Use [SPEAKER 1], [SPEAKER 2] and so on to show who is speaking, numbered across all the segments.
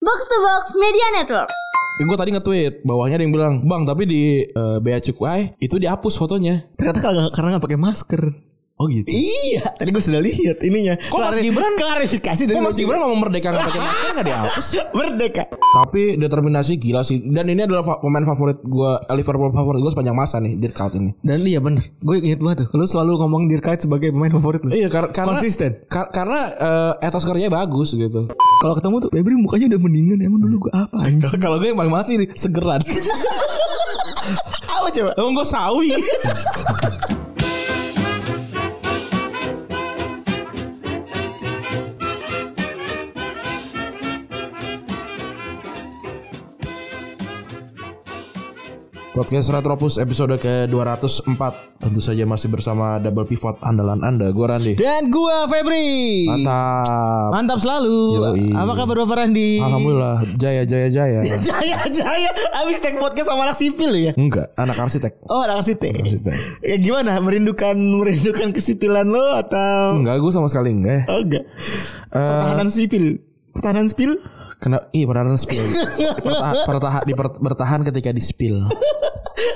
[SPEAKER 1] Box to Box Media Network.
[SPEAKER 2] Eh, gue tadi nge-tweet bawahnya ada yang bilang bang tapi di eh, bea cukai itu dihapus fotonya
[SPEAKER 3] Ternyata kagak- karena nggak pakai masker.
[SPEAKER 2] oh gitu
[SPEAKER 3] Iya, tadi gue sudah lihat ininya.
[SPEAKER 2] Kok Mas Gibran-
[SPEAKER 3] klarifikasi dari
[SPEAKER 2] Kok Mas Gibran ngomong merdeka gak pakai masker gak dihapus?
[SPEAKER 3] Merdeka.
[SPEAKER 2] Tapi determinasi gila sih Dan ini adalah fa- pemain favorit gue Liverpool favorit gue sepanjang masa nih Dirk Kuyt ini
[SPEAKER 3] Dan iya bener Gue inget banget tuh Lu selalu ngomong Dirkait sebagai pemain favorit lu
[SPEAKER 2] Iya kar- karena
[SPEAKER 3] Konsisten.
[SPEAKER 2] kar- Karena eh, etos kerjanya bagus gitu
[SPEAKER 3] Kalau ketemu tuh Febri mukanya udah mendingan Emang dulu gue apa anjing
[SPEAKER 2] Kalau gue yang paling masih nih Segeran
[SPEAKER 3] Apa coba
[SPEAKER 2] Emang gue sawi Podcast Retropus episode ke-204 Tentu saja masih bersama double pivot andalan anda Gue Randi
[SPEAKER 3] Dan gue Febri
[SPEAKER 2] Mantap
[SPEAKER 3] Mantap selalu
[SPEAKER 2] Yoi.
[SPEAKER 3] Apa kabar Bapak Randi
[SPEAKER 2] Alhamdulillah Jaya jaya jaya
[SPEAKER 3] Jaya Jaya Abis take podcast sama anak sipil lu ya
[SPEAKER 2] Enggak anak arsitek
[SPEAKER 3] Oh anak sipil
[SPEAKER 2] Arsitek.
[SPEAKER 3] ya, Gimana merindukan Merindukan kesipilan lo Atau
[SPEAKER 2] Enggak gue sama sekali enggak ya.
[SPEAKER 3] Oh enggak Pertahanan sipil Pertahanan sipil
[SPEAKER 2] Kena Ih pertahanan spill Pertahan, pertahan, diper- bertahan ketika di spill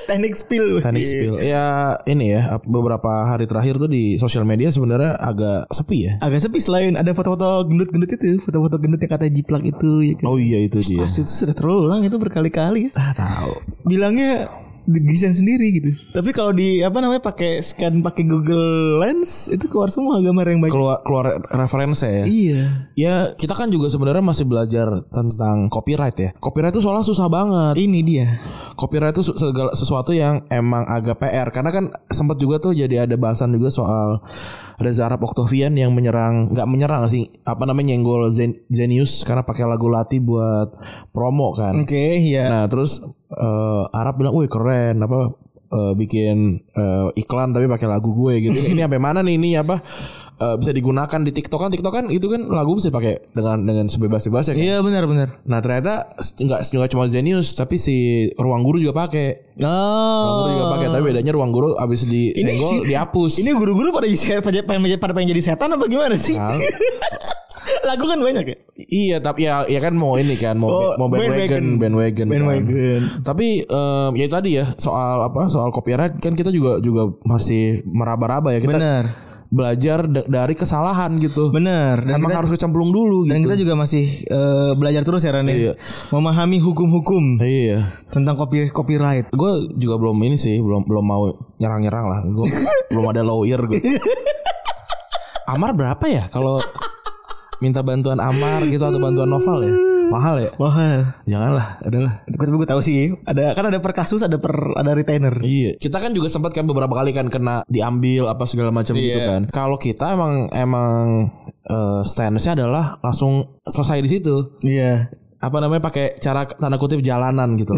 [SPEAKER 3] Teknik spil
[SPEAKER 2] Titanic spill. Ya ini ya beberapa hari terakhir tuh di sosial media sebenarnya agak sepi ya.
[SPEAKER 3] Agak sepi selain ada foto-foto gendut-gendut itu Foto-foto gendut yang katanya jiplak itu ya kan?
[SPEAKER 2] Oh iya itu dia.
[SPEAKER 3] Itu sudah terulang itu berkali-kali ya.
[SPEAKER 2] Ah, tahu.
[SPEAKER 3] Bilangnya desain sendiri gitu. Tapi kalau di apa namanya pakai scan pakai Google Lens itu keluar semua gambar yang baik.
[SPEAKER 2] Keluar keluar referensi ya.
[SPEAKER 3] Iya.
[SPEAKER 2] Ya kita kan juga sebenarnya masih belajar tentang copyright ya. Copyright itu soalnya susah banget.
[SPEAKER 3] Ini dia.
[SPEAKER 2] Copyright itu su- segala sesuatu yang emang agak PR karena kan sempat juga tuh jadi ada bahasan juga soal Reza Arab Octavian yang menyerang nggak menyerang sih apa namanya nyenggol Zen- Zenius karena pakai lagu Lati buat promo kan.
[SPEAKER 3] Oke, iya.
[SPEAKER 2] Nah terus eh, Arab bilang, wih keren apa eh, bikin eh, iklan tapi pakai lagu gue gitu. ini sampai mana nih ini apa eh, bisa digunakan di TikTok kan TikTok kan itu kan lagu bisa pakai dengan dengan sebebas-bebasnya. Kan?
[SPEAKER 3] Iya benar benar.
[SPEAKER 2] Nah ternyata s- nggak nggak cuma Zenius tapi si ruang guru juga pakai. Ruang guru
[SPEAKER 3] Oh.
[SPEAKER 2] juga pakai tapi bedanya ruang guru abis disenggol dihapus.
[SPEAKER 3] Ini guru-guru pada jadi pada, pada, pada pengen jadi setan apa gimana sih?
[SPEAKER 2] Tahu.
[SPEAKER 3] Lagu kan banyak ya.
[SPEAKER 2] Iya tapi ya ya kan mau ini kan mau
[SPEAKER 3] Oh,
[SPEAKER 2] mau bandwagon
[SPEAKER 3] bandwagon.
[SPEAKER 2] bandwagon. kan.
[SPEAKER 3] Bandwagon.
[SPEAKER 2] Tapi em, ya tadi ya soal apa soal copyright kan kita juga juga masih meraba-raba ya kita
[SPEAKER 3] Benar.
[SPEAKER 2] belajar da- dari kesalahan gitu.
[SPEAKER 3] Benar. Dan
[SPEAKER 2] Emang
[SPEAKER 3] kita,
[SPEAKER 2] harus kecemplung dulu
[SPEAKER 3] dan
[SPEAKER 2] gitu.
[SPEAKER 3] kita juga masih eh, belajar terus ya Ran ya.
[SPEAKER 2] Iya.
[SPEAKER 3] Memahami hukum-hukum
[SPEAKER 2] Iya.
[SPEAKER 3] tentang copy copyright.
[SPEAKER 2] Gue juga belum ini sih belum belum mau nyerang-nyerang lah. Gue belum ada lawyer gue. Amar berapa ya kalau minta bantuan Amar gitu atau bantuan Noval ya? Mahal ya?
[SPEAKER 3] Mahal.
[SPEAKER 2] Janganlah, adalah.
[SPEAKER 3] Tapi gue tahu sih, ada kan ada per kasus, ada per ada retainer.
[SPEAKER 2] Iya, kita kan juga sempat kan beberapa kali kan kena diambil apa segala macam gitu kan. Kalau kita emang emang eh, stance-nya adalah langsung selesai di situ.
[SPEAKER 3] Iya.
[SPEAKER 2] Apa namanya pakai cara tanda kutip jalanan gitu.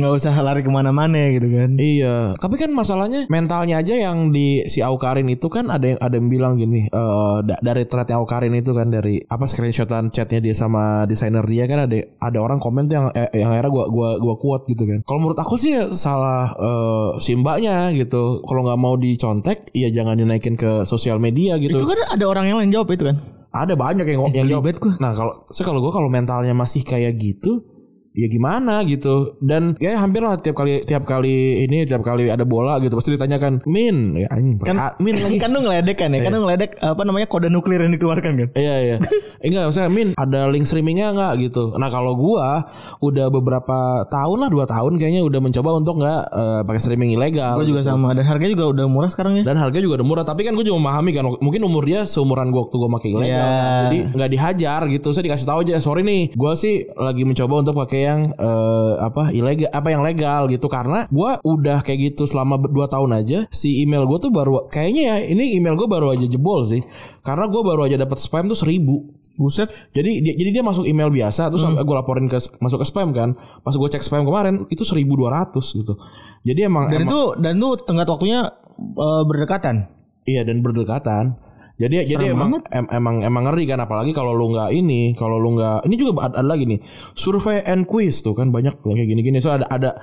[SPEAKER 3] Nggak usah lari kemana-mana gitu kan.
[SPEAKER 2] iya, tapi kan masalahnya mentalnya aja yang di si Aukarin itu kan ada yang ada yang bilang gini eh, da- dari thread yang Aukarin itu kan dari apa screenshotan chatnya dia sama desainer dia kan ada ada orang komen tuh yang eh, yang akhirnya gua gua gua kuat gitu kan. Kalau menurut aku sih salah eh, si mbaknya gitu. Kalau nggak mau dicontek, ya jangan dinaikin ke sosial media gitu.
[SPEAKER 3] Itu kan ada orang yang lain jawab itu kan.
[SPEAKER 2] Ada banyak yang yang jawab.
[SPEAKER 3] banget Eh, gua.
[SPEAKER 2] Nah kalau saya kalau gue kalau mentalnya masih kayak gitu, ya gimana gitu. Dan kayak hampir lah tiap kali tiap kali ini tiap kali ada bola gitu pasti ditanyakan min, ya, anjing,
[SPEAKER 3] Kan
[SPEAKER 2] min lagi.
[SPEAKER 3] kan lu ngeledek kan ya, kan lu ngeledek apa namanya kode nuklir yang dikeluarkan kan.
[SPEAKER 2] Iya iya. Eh, Enggak maksudnya Min ada link streamingnya enggak gitu. Nah kalau gua udah beberapa tahun lah dua tahun kayaknya udah mencoba untuk enggak eh, pakai streaming ilegal.
[SPEAKER 3] Gue juga sama dan harganya juga udah murah sekarang ya.
[SPEAKER 2] dan harganya juga udah murah tapi kan gue juga memahami kan mungkin umur dia seumuran gue waktu gue pakai ilegal
[SPEAKER 3] Iya.
[SPEAKER 2] kan. jadi nggak dihajar gitu saya dikasih tahu aja sorry nih gue sih lagi mencoba untuk pakai yang eh, apa ilegal apa yang legal gitu karena gue udah kayak gitu selama 2 tahun aja si email gue tuh baru kayaknya ya ini email gue baru aja jebol sih karena gue baru aja dapat spam tuh seribu
[SPEAKER 3] Buset. Hmm.
[SPEAKER 2] jadi dia, jadi dia masuk email biasa terus gue laporin ke masuk ke spam kan pas gue cek spam kemarin itu 1200 gitu jadi emang
[SPEAKER 3] Dan
[SPEAKER 2] emang-
[SPEAKER 3] itu dan itu tenggat waktunya eh, berdekatan.
[SPEAKER 2] Iya dan berdekatan. Jadi jadi emang, em- emang emang ngeri kan apalagi kalau lu nggak ini, kalau lu nggak ini juga ada, ada lagi nih survei and quiz tuh kan banyak yang kayak gini-gini. So ada ada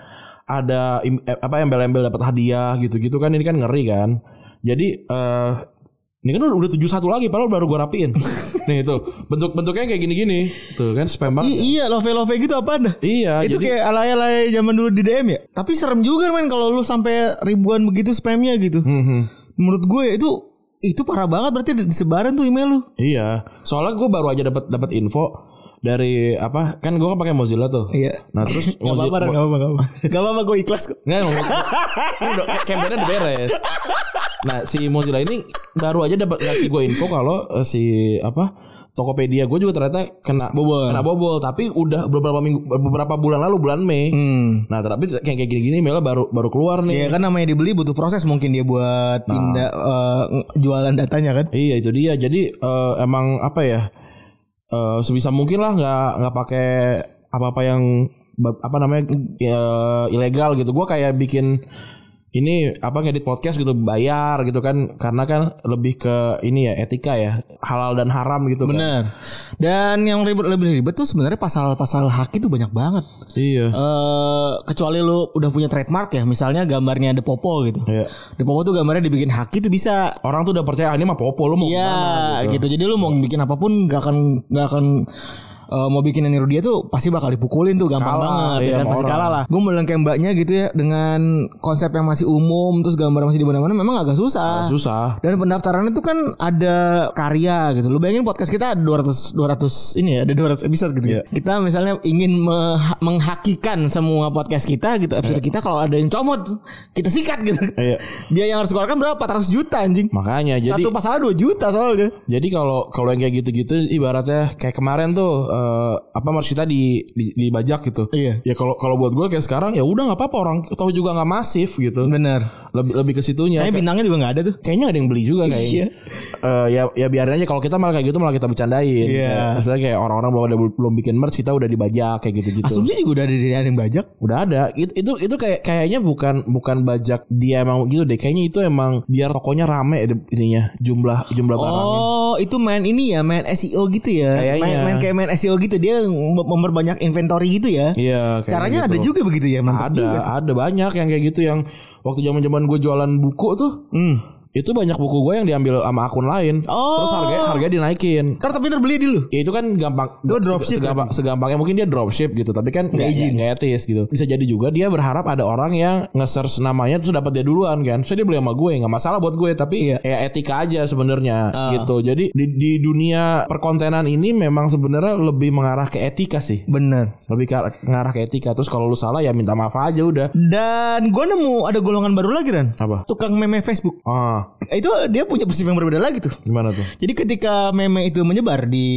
[SPEAKER 2] ada im- eh, apa embel-embel dapat hadiah gitu-gitu kan ini kan ngeri kan. Jadi eh ini kan udah 71 lagi padahal baru gua rapiin. Nih itu bentuk-bentuknya kayak gini-gini. Tuh kan spam
[SPEAKER 3] I-
[SPEAKER 2] banget.
[SPEAKER 3] iya love love gitu apa dah?
[SPEAKER 2] Iya,
[SPEAKER 3] itu
[SPEAKER 2] jadi-
[SPEAKER 3] kayak alay alay zaman dulu di DM ya. Tapi serem juga men kalau lu sampai ribuan begitu spamnya gitu. Menurut gue ya, itu itu parah banget berarti disebaran tuh email lu.
[SPEAKER 2] Iya. Soalnya gue baru aja dapat dapat info dari apa kan gue kan pakai Mozilla tuh.
[SPEAKER 3] Iya.
[SPEAKER 2] Nah terus
[SPEAKER 3] Gak apa-apa,
[SPEAKER 2] Mozilla
[SPEAKER 3] Ran, gak apa-apa, gak apa-apa. Gak apa-apa, gue ikhlas kok.
[SPEAKER 2] Nggak emang ini udah campaignnya udah beres. Nah si Mozilla ini baru aja dapat ngasih gue info kalau eh, si apa Tokopedia gue juga ternyata kena
[SPEAKER 3] Bobol.
[SPEAKER 2] Kena bobol tapi udah beberapa minggu beberapa bulan lalu bulan Mei.
[SPEAKER 3] Hmm.
[SPEAKER 2] Nah tapi kayak kayak gini-gini Mela baru baru keluar nih.
[SPEAKER 3] Ya kan namanya dibeli butuh proses mungkin dia buat pindah eh, jualan datanya kan.
[SPEAKER 2] Iya itu dia. Jadi eh, emang apa ya? eh, sebisa mungkin lah nggak nggak pakai apa-apa yang ba- apa namanya ya, ilegal gitu. Gua kayak bikin ini apa ngedit podcast gitu bayar gitu kan karena kan lebih ke ini ya etika ya halal dan haram gitu kan.
[SPEAKER 3] Bener. Dan yang ribet lebih ribet tuh sebenarnya pasal-pasal hak itu banyak banget.
[SPEAKER 2] Iya.
[SPEAKER 3] Eh kecuali lu udah punya trademark ya, misalnya gambarnya The Popo gitu.
[SPEAKER 2] Iya.
[SPEAKER 3] The Popo tuh gambarnya dibikin haki tuh bisa.
[SPEAKER 2] Orang tuh udah percaya "Ah, ini mah popo lu mau kemana?"
[SPEAKER 3] Iya, gitu. Jadi lu mau bikin apapun gak akan gak akan eh, mau bikin niru dia tuh pasti bakal dipukulin tuh gampang
[SPEAKER 2] Kalah,
[SPEAKER 3] banget
[SPEAKER 2] iya,
[SPEAKER 3] ya
[SPEAKER 2] sama
[SPEAKER 3] kan pasti
[SPEAKER 2] orang.
[SPEAKER 3] kalah lah. Gue melengkeng mbaknya gitu ya dengan konsep yang masih umum terus gambar masih di mana-mana memang agak susah.
[SPEAKER 2] Susah.
[SPEAKER 3] Dan pendaftarannya tuh kan ada karya gitu. Lu bayangin podcast kita ada 200 200 ini ya, ada 200 episode gitu. ya. Kita misalnya ingin meha- menghakikan semua podcast kita gitu, episode kita kalau ada yang comot kita sikat gitu.
[SPEAKER 2] Iya.
[SPEAKER 3] Dia yang harus keluarkan berapa? 400 juta anjing.
[SPEAKER 2] Makanya jadi
[SPEAKER 3] Satu pasalnya 2 juta soalnya.
[SPEAKER 2] Jadi kalau kalau yang kayak gitu-gitu ibaratnya kayak kemarin tuh eh, apa Mars kita di, di- dibajak gitu.
[SPEAKER 3] Iya.
[SPEAKER 2] Ya kalau kalau buat gue kayak sekarang ya udah nggak apa-apa orang tahu juga nggak masif gitu.
[SPEAKER 3] Bener. Iya,
[SPEAKER 2] Lebih lebih ke situnya.
[SPEAKER 3] Kayaknya
[SPEAKER 2] Kayak-
[SPEAKER 3] bintangnya juga nggak ada tuh.
[SPEAKER 2] kayaknya ada yang beli juga kayaknya.
[SPEAKER 3] Iya.
[SPEAKER 2] Eh, ya ya biarin aja kalau kita malah kayak gitu malah kita bercandain.
[SPEAKER 3] Iya.
[SPEAKER 2] Ya, Misalnya kayak orang-orang belum ada belum bikin merch kita udah dibajak kayak gitu-gitu.
[SPEAKER 3] Asumsi juga udah ada dari ada yang bajak.
[SPEAKER 2] Udah ada. Itu itu, itu kayak kayaknya bukan bukan bajak dia emang gitu deh. Kayaknya itu emang biar tokonya rame deh ininya jumlah jumlah barangnya.
[SPEAKER 3] Oh, itu main ini ya, main SEO gitu ya.
[SPEAKER 2] Kayaknya.
[SPEAKER 3] Main, main kayak main SEO gitu dia mem- memperbanyak inventory gitu ya.
[SPEAKER 2] Iya, kayaknya
[SPEAKER 3] Caranya ada
[SPEAKER 2] gitu.
[SPEAKER 3] juga begitu ya, mantap
[SPEAKER 2] ada
[SPEAKER 3] juga.
[SPEAKER 2] ada banyak yang kayak gitu yang waktu zaman zaman gue jualan buku tuh itu banyak buku gue yang diambil sama akun lain
[SPEAKER 3] Oh.
[SPEAKER 2] terus harganya harganya dinaikin
[SPEAKER 3] Ntar tapi ntar beli dulu.
[SPEAKER 2] ya itu kan gampang
[SPEAKER 3] Itu dropship kan?
[SPEAKER 2] segampang, segampangnya mungkin dia dropship gitu tapi kan nggak izin nggak etis gitu bisa jadi juga dia berharap ada orang yang nge-search namanya terus dapat dia duluan kan so dia beli sama gue nggak masalah buat gue
[SPEAKER 3] Iya.
[SPEAKER 2] tapi ya etika aja sebenarnya
[SPEAKER 3] Ah.
[SPEAKER 2] gitu jadi di, di dunia perkontenan ini memang sebenarnya lebih mengarah ke etika sih
[SPEAKER 3] Bener.
[SPEAKER 2] lebih ke ngarah ke etika terus kalau lu salah ya minta maaf aja udah
[SPEAKER 3] Dan gue nemu ada golongan baru lagi Ran
[SPEAKER 2] Apa?
[SPEAKER 3] Tukang meme Facebook
[SPEAKER 2] ah
[SPEAKER 3] Itu dia punya prinsip yang berbeda lagi tuh
[SPEAKER 2] gimana tuh
[SPEAKER 3] Jadi ketika meme itu menyebar di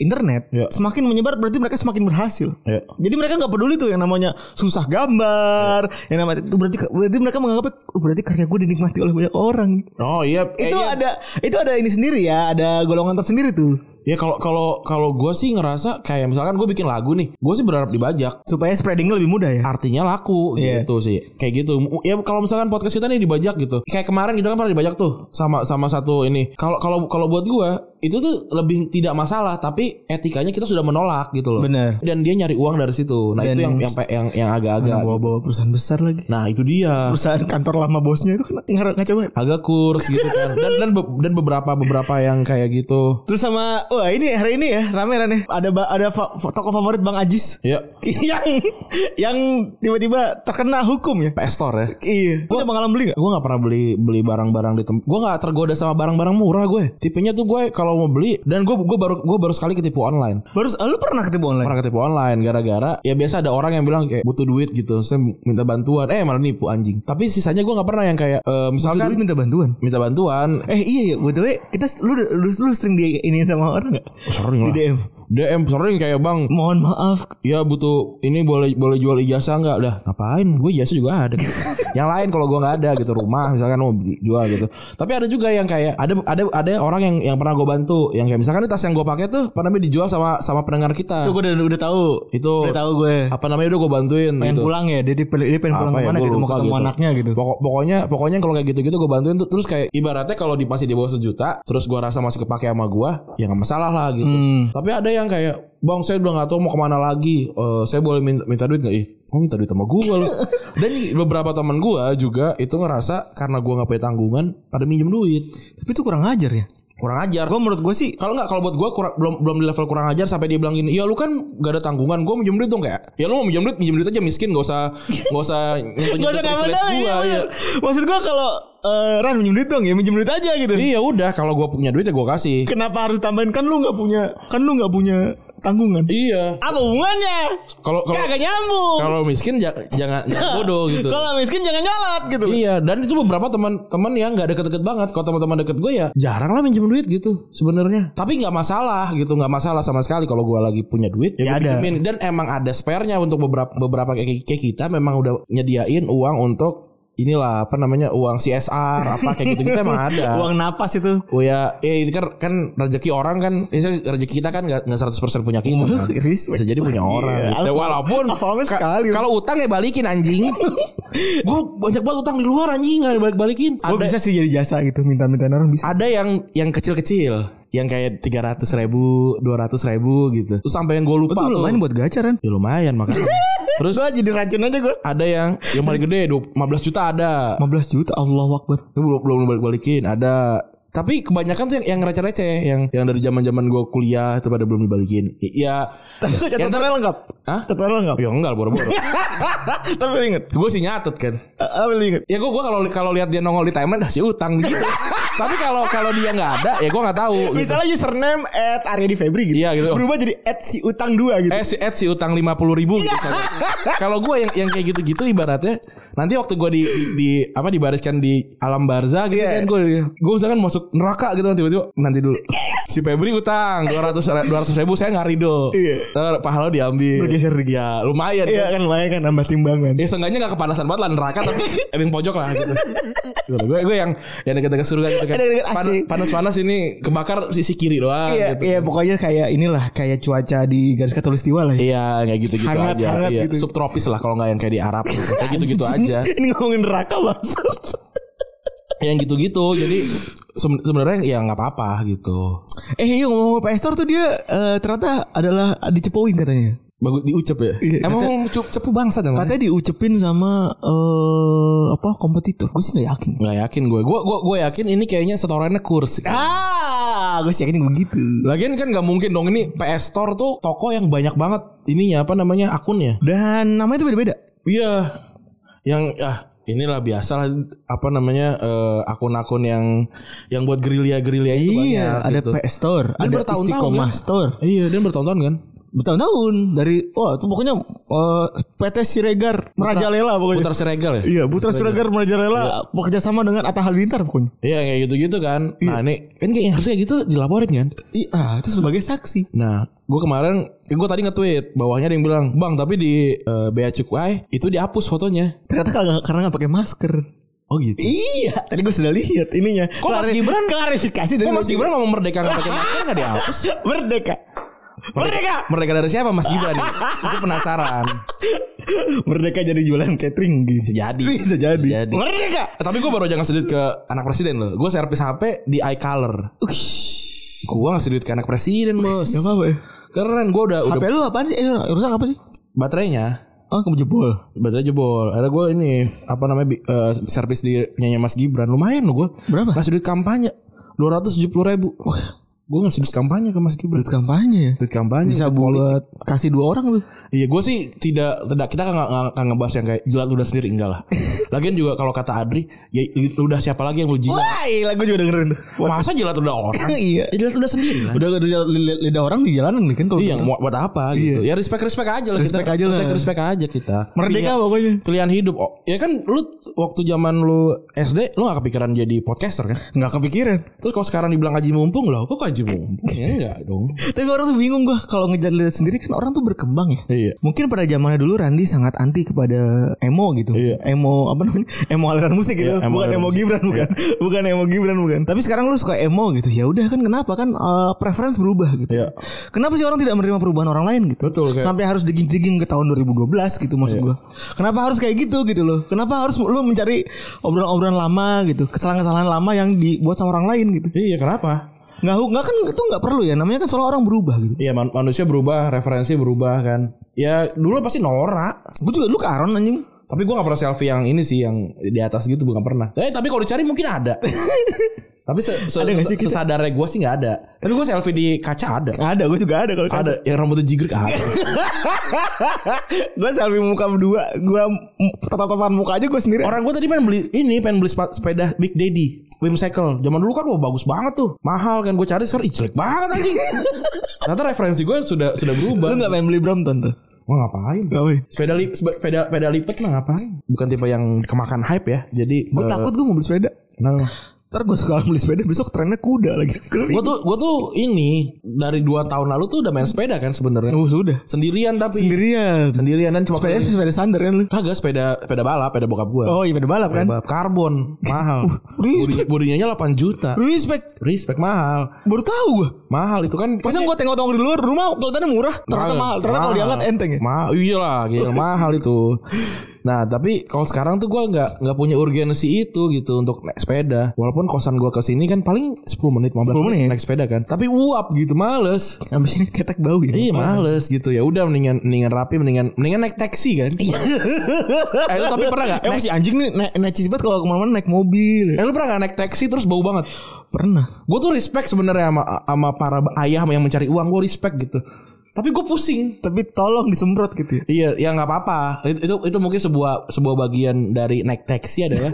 [SPEAKER 3] internet
[SPEAKER 2] Ya.
[SPEAKER 3] Semakin menyebar berarti mereka semakin berhasil
[SPEAKER 2] Ya.
[SPEAKER 3] Jadi mereka nggak peduli tuh yang namanya susah gambar
[SPEAKER 2] Ya.
[SPEAKER 3] Yang namanya itu berarti, berarti mereka menganggapnya "Oh, Berarti karya gue dinikmati oleh banyak orang
[SPEAKER 2] oh iya
[SPEAKER 3] Itu
[SPEAKER 2] kayaknya-
[SPEAKER 3] ada itu ada ini sendiri ya Ada golongan tersendiri tuh
[SPEAKER 2] ya kalau kalau kalau gue sih ngerasa kayak misalkan gue bikin lagu nih gue sih berharap dibajak
[SPEAKER 3] Supaya spreadingnya lebih mudah ya
[SPEAKER 2] artinya laku
[SPEAKER 3] Iya.
[SPEAKER 2] gitu sih kayak gitu ya kalau misalkan podcast kita nih dibajak gitu kayak kemarin gitu kan pernah dibajak tuh sama sama satu ini kalau kalau kalau buat gue itu tuh lebih tidak masalah tapi etikanya kita sudah menolak gitu loh
[SPEAKER 3] Bener.
[SPEAKER 2] dan dia nyari uang dari situ nah
[SPEAKER 3] Dan-
[SPEAKER 2] itu yang yang pe- yang yang agak-agak
[SPEAKER 3] Bawa-bawa perusahaan besar lagi
[SPEAKER 2] nah itu dia
[SPEAKER 3] Perusahaan kantor lama bosnya itu kan ngaco banget
[SPEAKER 2] agak kurs gitu kan dan dan, be- dan beberapa beberapa yang kayak gitu
[SPEAKER 3] Terus sama wah ini hari ini ya rame rame ada ba- ada fa- fa- tokoh favorit Bang Ajis
[SPEAKER 2] ya
[SPEAKER 3] yang yang tiba-tiba terkena hukum ya.
[SPEAKER 2] PS Store ya
[SPEAKER 3] Iya. Gua pengalaman beli gak?
[SPEAKER 2] gue nggak pernah beli beli barang-barang di tempat gue nggak tergoda sama barang-barang murah gue tipenya tuh gue kalau mau beli dan gue gue baru gue baru sekali ketipu online
[SPEAKER 3] Baru ah, lu pernah ketemu online?
[SPEAKER 2] pernah ketipu online gara-gara ya biasa ada orang yang bilang kayak butuh duit gitu saya minta bantuan eh malah nipu anjing tapi sisanya gue nggak pernah yang kayak eh,
[SPEAKER 3] Butuh
[SPEAKER 2] misalkan
[SPEAKER 3] duit minta bantuan.
[SPEAKER 2] minta bantuan
[SPEAKER 3] Eh iya ya, betul kita lu, lu lu sering di ini sama orang gak?
[SPEAKER 2] Oh, sering
[SPEAKER 3] Di
[SPEAKER 2] lah
[SPEAKER 3] DM.
[SPEAKER 2] DM sering kayak bang
[SPEAKER 3] Mohon maaf.
[SPEAKER 2] Ya butuh ini boleh boleh jual ijazah nggak? Dah ngapain? Gue ijazah juga ada. yang lain kalau gue nggak ada gitu rumah misalkan mau jual gitu. Tapi ada juga yang kayak ada ada ada orang yang yang pernah gue bantu yang kayak misalkan ini tas yang gue pakai tuh apa namanya dijual sama sama pendengar kita.
[SPEAKER 3] Itu gue udah udah tahu.
[SPEAKER 2] Ah. itu
[SPEAKER 3] Udah tahu gue.
[SPEAKER 2] apa namanya udah gue bantuin
[SPEAKER 3] Pengen
[SPEAKER 2] gitu.
[SPEAKER 3] pulang ya, dia, dia, dia pengen pulang
[SPEAKER 2] Apa ya,
[SPEAKER 3] kemana
[SPEAKER 2] gua
[SPEAKER 3] gitu mau
[SPEAKER 2] lupa
[SPEAKER 3] ketemu
[SPEAKER 2] gitu.
[SPEAKER 3] anaknya gitu.
[SPEAKER 2] Pokok- pokoknya pokoknya kalau kayak gitu-gitu gue bantuin tuh terus kayak ibaratnya kalau di masih di bawah sejuta terus gua rasa masih kepake sama gua ya nggak masalah lah gitu.
[SPEAKER 3] Hmm.
[SPEAKER 2] Tapi ada yang kayak Bang saya udah gak tahu mau kemana lagi Eh, Saya boleh minta, minta duit gak? Ih kok minta duit sama gua loh Dan beberapa teman gua juga Itu ngerasa Karena gua gak punya tanggungan Pada minjem duit
[SPEAKER 3] Tapi itu kurang ajar ya.
[SPEAKER 2] kurang ajar.
[SPEAKER 3] Gue menurut gue sih
[SPEAKER 2] Kalau nggak kalau buat gue kurang, belum belum di level kurang ajar sampai dia bilang gini, ya lu kan gak ada tanggungan, gue minjem duit dong kayak, ya lu mau minjem duit minjem duit aja miskin, gak usah gak usah nyentuh
[SPEAKER 3] Gak usah nama nama
[SPEAKER 2] gue.
[SPEAKER 3] ya. Maksud gue kalau eh, Ran minjem duit dong ya minjem duit aja gitu.
[SPEAKER 2] Iya udah kalau gue punya duit ya gue kasih.
[SPEAKER 3] Kenapa harus tambahin kan lu nggak punya kan lu nggak punya tanggungan?
[SPEAKER 2] Iya.
[SPEAKER 3] Apa hubungannya?
[SPEAKER 2] Kalau kalau
[SPEAKER 3] Kagak nyambung.
[SPEAKER 2] kalau miskin ja- jangan jangan bodoh gitu.
[SPEAKER 3] Kalau miskin jangan nyolot gitu.
[SPEAKER 2] Iya, dan itu beberapa teman-teman yang nggak deket-deket banget. Kalau teman-teman deket gue ya jarang lah minjem duit gitu sebenarnya. Tapi nggak masalah gitu, nggak masalah sama sekali kalau gue lagi punya duit.
[SPEAKER 3] Ya
[SPEAKER 2] Ya, gue
[SPEAKER 3] ada.
[SPEAKER 2] pinjemin. Dan emang ada sparenya untuk beberapa beberapa kayak, kayak kita memang udah nyediain uang untuk inilah apa namanya uang CSR apa kayak gitu kita emang ada.
[SPEAKER 3] Uang napas itu.
[SPEAKER 2] Oh ya, eh, itu kan, kan rezeki orang kan, misalnya rezeki kita kan nggak nggak 100% punya kita. kan.
[SPEAKER 3] Respect.
[SPEAKER 2] Bisa jadi punya orang.
[SPEAKER 3] Iya,
[SPEAKER 2] gitu.
[SPEAKER 3] apa-
[SPEAKER 2] Walaupun
[SPEAKER 3] apalagi
[SPEAKER 2] ka-
[SPEAKER 3] sekali.
[SPEAKER 2] kalau utang ya balikin anjing. gue banyak banget utang di luar anjing nggak balik balikin.
[SPEAKER 3] Gue
[SPEAKER 2] Ada,
[SPEAKER 3] bisa sih jadi jasa gitu minta-minta orang bisa.
[SPEAKER 2] ada yang yang kecil-kecil, yang kayak 300 ribu, 200 ribu gitu. Terus sampai yang gue lupa
[SPEAKER 3] Itu lumayan buat gacaran.
[SPEAKER 2] Ya lumayan makanya. Terus
[SPEAKER 3] Gue jadi racun aja gue.
[SPEAKER 2] ada yang yang paling gede 20 15 juta ada.
[SPEAKER 3] 15 juta Allah Akbar.
[SPEAKER 2] Itu belum belum balik balikin ada tapi kebanyakan tuh yang, yang receh-receh yang yang dari zaman-zaman gue kuliah itu pada belum dibalikin ya
[SPEAKER 3] Tapi kok catatannya lengkap.
[SPEAKER 2] Hah?
[SPEAKER 3] Catatannya lengkap.
[SPEAKER 2] ya enggak lah, boro-boro
[SPEAKER 3] Tapi lu inget.
[SPEAKER 2] gue sih nyatet kan
[SPEAKER 3] A- Apa Eh, lu inget?
[SPEAKER 2] ya gue gua kalau kalau lihat dia nongol di timeline dah si utang gitu tapi kalau kalau dia nggak ada ya gue nggak tahu gitu.
[SPEAKER 3] Misalnya username at Arya di Febri gitu.
[SPEAKER 2] Iya, gitu.
[SPEAKER 3] Berubah jadi at si utang 2 gitu. Iya.
[SPEAKER 2] eh si Ed si utang lima puluh ribu gitu. kalau gue yang yang kayak gitu-gitu ibaratnya nanti waktu gue di, di, di apa dibariskan di alam barza gitu
[SPEAKER 3] Iya.
[SPEAKER 2] kan gue gue misalkan masuk neraka gitu kan tiba-tiba nanti dulu si Febri utang dua ratus ribu saya nggak ridho
[SPEAKER 3] Iya.
[SPEAKER 2] Ntar pahala diambil
[SPEAKER 3] Bergeser dikit.
[SPEAKER 2] ya lumayan
[SPEAKER 3] Iya
[SPEAKER 2] kan.
[SPEAKER 3] kan lumayan kan nambah timbangan.
[SPEAKER 2] Ya seenggaknya gak kepanasan banget lah neraka tapi ada yang pojok lah gitu. Gitu. Gue gue yang yang dekat-dekat surga gitu kan.
[SPEAKER 3] Deket-deket
[SPEAKER 2] Pan-
[SPEAKER 3] asik.
[SPEAKER 2] Panas-panas ini kebakar sisi kiri doang
[SPEAKER 3] Iya,
[SPEAKER 2] gitu.
[SPEAKER 3] iya pokoknya kayak inilah kayak cuaca di garis katulistiwa lah ya.
[SPEAKER 2] Iya kayak gitu-gitu
[SPEAKER 3] Hangat,
[SPEAKER 2] aja.
[SPEAKER 3] hangat
[SPEAKER 2] iya.
[SPEAKER 3] gitu.
[SPEAKER 2] Subtropis lah kalau nggak yang kayak di Arab. gitu. kayak gitu-gitu aja.
[SPEAKER 3] Ini ngomongin neraka maksud.
[SPEAKER 2] yang gitu-gitu. Jadi se- sebenarnya ya nggak apa-apa gitu.
[SPEAKER 3] Eh iya ngomong PS Store tuh dia eh, ternyata adalah dicepoin katanya.
[SPEAKER 2] Bagus diucap ya.
[SPEAKER 3] Iya,
[SPEAKER 2] Emang cu- cepu bangsa dong. ya?
[SPEAKER 3] Katanya diucepin sama eh apa kompetitor. Gue sih gak yakin.
[SPEAKER 2] Nggak yakin gue. Gue gue gue yakin ini kayaknya setorannya kurs.
[SPEAKER 3] Ah, gue sih yakin begitu.
[SPEAKER 2] Lagian kan nggak mungkin dong ini PS Store tuh toko yang banyak banget ininya apa namanya akunnya.
[SPEAKER 3] Dan namanya tuh beda-beda.
[SPEAKER 2] Iya. Yang ah inilah biasalah apa namanya eh, akun-akun yang yang buat gerilya-gerilya itu
[SPEAKER 3] Oh,
[SPEAKER 2] banyak
[SPEAKER 3] Iya, ada
[SPEAKER 2] gitu.
[SPEAKER 3] PS Store,
[SPEAKER 2] Dan
[SPEAKER 3] ada
[SPEAKER 2] bertahun-tahun
[SPEAKER 3] Istiqomah
[SPEAKER 2] kan?
[SPEAKER 3] Store.
[SPEAKER 2] Iya, dan bertonton kan.
[SPEAKER 3] Bertahun-tahun dari wah itu pokoknya eh, PT Siregar merajalela pokoknya.
[SPEAKER 2] Putar Siregar ya?
[SPEAKER 3] Iya, Putra Siregar merajalela bekerja sama dengan Atta Halilintar pokoknya.
[SPEAKER 2] Iya, kayak gitu-gitu kan. Nah, ini kan kayak yang harusnya gitu dilaporin kan.
[SPEAKER 3] Iya, itu sebagai saksi.
[SPEAKER 2] Nah, gue kemarin gue tadi nge-tweet bawahnya ada yang bilang, "Bang, tapi di eh, bea cukai itu dihapus fotonya."
[SPEAKER 3] Ternyata karena karena nggak pakai masker.
[SPEAKER 2] Oh gitu.
[SPEAKER 3] Iya, tadi gue sudah lihat ininya.
[SPEAKER 2] Kok Mas Gibran-
[SPEAKER 3] klarifikasi
[SPEAKER 2] Kok
[SPEAKER 3] dari
[SPEAKER 2] Mas Gibran ngomong merdeka nggak pakai masker nggak dihapus?
[SPEAKER 3] Merdeka. Merdeka.
[SPEAKER 2] Merdeka dari siapa Mas Gibran? nih? Gue penasaran.
[SPEAKER 3] Merdeka jadi jualan catering gitu.
[SPEAKER 2] Bisa jadi.
[SPEAKER 3] Bisa jadi.
[SPEAKER 2] Bisa jadi.
[SPEAKER 3] Merdeka.
[SPEAKER 2] Eh, tapi gue baru aja ngasih duit ke anak presiden loh. Gue servis HP di iColor. Gue ngasih duit ke anak presiden bos.
[SPEAKER 3] Gak apa-apa ya.
[SPEAKER 2] Keren gue udah udah
[SPEAKER 3] HP lu apaan sih? Eh, rusak apa sih?
[SPEAKER 2] baterainya
[SPEAKER 3] Oh, kamu jebol.
[SPEAKER 2] baterai jebol. Ada gue ini apa namanya bi- eh, servis di nyanyi Mas Gibran lumayan loh gue.
[SPEAKER 3] Berapa?
[SPEAKER 2] Ngasih duit kampanye dua ratus tujuh puluh ribu. Gue ngasih duit kampanye ke Mas Gibran.
[SPEAKER 3] Duit kampanye.
[SPEAKER 2] Duit kampanye.
[SPEAKER 3] Bisa buat kasih dua orang tuh.
[SPEAKER 2] Iya gue sih tidak tidak kita kan nggak- nggak nggak ngebahas yang kayak jilat udah sendiri enggak lah. Lagian juga kalau kata Adri ya udah siapa lagi yang lu jilat.
[SPEAKER 3] Wah, gila gue juga dengerin tuh.
[SPEAKER 2] Masa jilat udah orang?
[SPEAKER 3] iya.
[SPEAKER 2] Ya jilat udah sendiri lah.
[SPEAKER 3] Udah udah lidah- lidah orang di jalanan nih kan kalau
[SPEAKER 2] Iya, mau buat apa gitu. Ya respect-respect aja lah
[SPEAKER 3] Iya. Respect
[SPEAKER 2] kita.
[SPEAKER 3] aja lah.
[SPEAKER 2] Respect-respect aja kita. Iya.
[SPEAKER 3] Merdeka
[SPEAKER 2] Pilihan-
[SPEAKER 3] pokoknya.
[SPEAKER 2] Pilihan hidup. Oh, ya kan lu waktu zaman lu SD lu gak kepikiran jadi podcaster kan?
[SPEAKER 3] nggak kepikiran.
[SPEAKER 2] Terus kalau sekarang dibilang haji mumpung loh, kok haji mumpung? ya enggak dong.
[SPEAKER 3] Tapi orang tuh bingung gua kalau ngejar lidah sendiri kan orang tuh berkembang ya.
[SPEAKER 2] Iya.
[SPEAKER 3] Mungkin pada zamannya dulu Randi sangat anti kepada emo gitu.
[SPEAKER 2] Iya.
[SPEAKER 3] Emo apa namanya? Emo aliran musik gitu.
[SPEAKER 2] Iya, emo
[SPEAKER 3] bukan
[SPEAKER 2] aliran
[SPEAKER 3] emo
[SPEAKER 2] musik.
[SPEAKER 3] Gibran bukan. Bukan emo Gibran bukan. Tapi sekarang lu suka emo gitu. Ya udah kan kenapa kan eh, preference berubah gitu.
[SPEAKER 2] Iya.
[SPEAKER 3] Kenapa sih orang tidak menerima perubahan orang lain gitu?
[SPEAKER 2] Betul, kayak- Iya.
[SPEAKER 3] Sampai harus digiging ke tahun 2012 gitu maksud gua. Kenapa harus kayak gitu gitu loh? Kenapa harus lu mencari obrolan-obrolan lama gitu, kesalahan-kesalahan lama yang dibuat sama orang lain gitu?
[SPEAKER 2] Iya, kenapa?
[SPEAKER 3] Nggak nggak kan itu nggak perlu ya. Namanya kan soal orang berubah gitu.
[SPEAKER 2] Iya, man- manusia berubah, referensi berubah kan. Ya dulu pasti norak.
[SPEAKER 3] Gue juga lu ke Aron anjing.
[SPEAKER 2] Tapi gue gak pernah selfie yang ini sih yang di atas gitu bukan pernah. Eh, tapi kalau dicari mungkin ada. tapi se se-
[SPEAKER 3] Ada nggak sih
[SPEAKER 2] se- sesadarnya gue sih nggak ada. Tapi gue selfie di kaca ada.
[SPEAKER 3] Ada, gue juga ada kalau
[SPEAKER 2] Ada yang rambutnya jigrik ada.
[SPEAKER 3] gue selfie muka berdua, gue tatapan muka aja gue sendiri.
[SPEAKER 2] Orang gue tadi pengen beli ini pengen beli sepa- sepeda Big Daddy Whimsical. Zaman dulu kan wah bagus banget tuh. Mahal kan gue cari sekarang ih jelek banget anjing. Ternyata referensi gue sudah sudah berubah.
[SPEAKER 3] Lu gak pengen beli Brompton tuh?
[SPEAKER 2] Wah ngapain?
[SPEAKER 3] Ngapain?
[SPEAKER 2] Sepeda lip sepeda sepeda lipet mah ngapain? Bukan tipe yang kemakan hype ya. Jadi
[SPEAKER 3] Gue
[SPEAKER 2] eh, nah.
[SPEAKER 3] takut gue mau beli sepeda.
[SPEAKER 2] Kenapa?
[SPEAKER 3] Ntar gue suka beli sepeda besok trennya kuda lagi. Geli.
[SPEAKER 2] Gue tuh gue tuh ini dari dua tahun lalu tuh udah main sepeda kan sebenarnya.
[SPEAKER 3] Oh sudah.
[SPEAKER 2] Sendirian tapi
[SPEAKER 3] Sendirian.
[SPEAKER 2] sendirian dan cuma
[SPEAKER 3] Sepeda sepeda standar kan lu?
[SPEAKER 2] kagak sepeda sepeda balap, sepeda bokap gue.
[SPEAKER 3] Oh iya sepeda balap kan?
[SPEAKER 2] Balap karbon mahal.
[SPEAKER 3] respect.
[SPEAKER 2] Bodi- Bodinya 8 juta.
[SPEAKER 3] Respect.
[SPEAKER 2] Respect mahal.
[SPEAKER 3] Baru tahu gue.
[SPEAKER 2] Mahal itu kan
[SPEAKER 3] Masa gue tengok-tengok di luar rumah kelihatannya murah, ternyata mahal. Ternyata kalau diangkat enteng ya.
[SPEAKER 2] Mahal, iyalah, gila mahal itu. Nah, tapi kalau sekarang tuh gua nggak nggak punya urgensi itu gitu untuk naik sepeda. Walaupun kosan gua ke sini kan paling 10 menit 15
[SPEAKER 3] 10 menit.
[SPEAKER 2] menit naik sepeda kan. Tapi uap gitu, males.
[SPEAKER 3] Abis ini ketek bau ya.
[SPEAKER 2] Iya, males gitu. Ya udah mendingan mendingan rapi, mendingan mendingan naik taksi kan. eh, lu tapi pernah nggak?
[SPEAKER 3] Eh
[SPEAKER 2] naik-
[SPEAKER 3] si anjing nih naik Kan- naik cisbat kalau kemana-mana naik mobil.
[SPEAKER 2] Eh, lu pernah nggak naik taksi terus bau banget?
[SPEAKER 3] Pernah.
[SPEAKER 2] Gue tuh respect sebenarnya sama sama para ayah yang mencari uang, gue respect gitu. Tapi gue pusing.
[SPEAKER 3] Tapi tolong disemprot gitu ya.
[SPEAKER 2] Iya, ya nggak apa-apa. Itu, itu itu mungkin sebuah sebuah bagian dari naik taksi adalah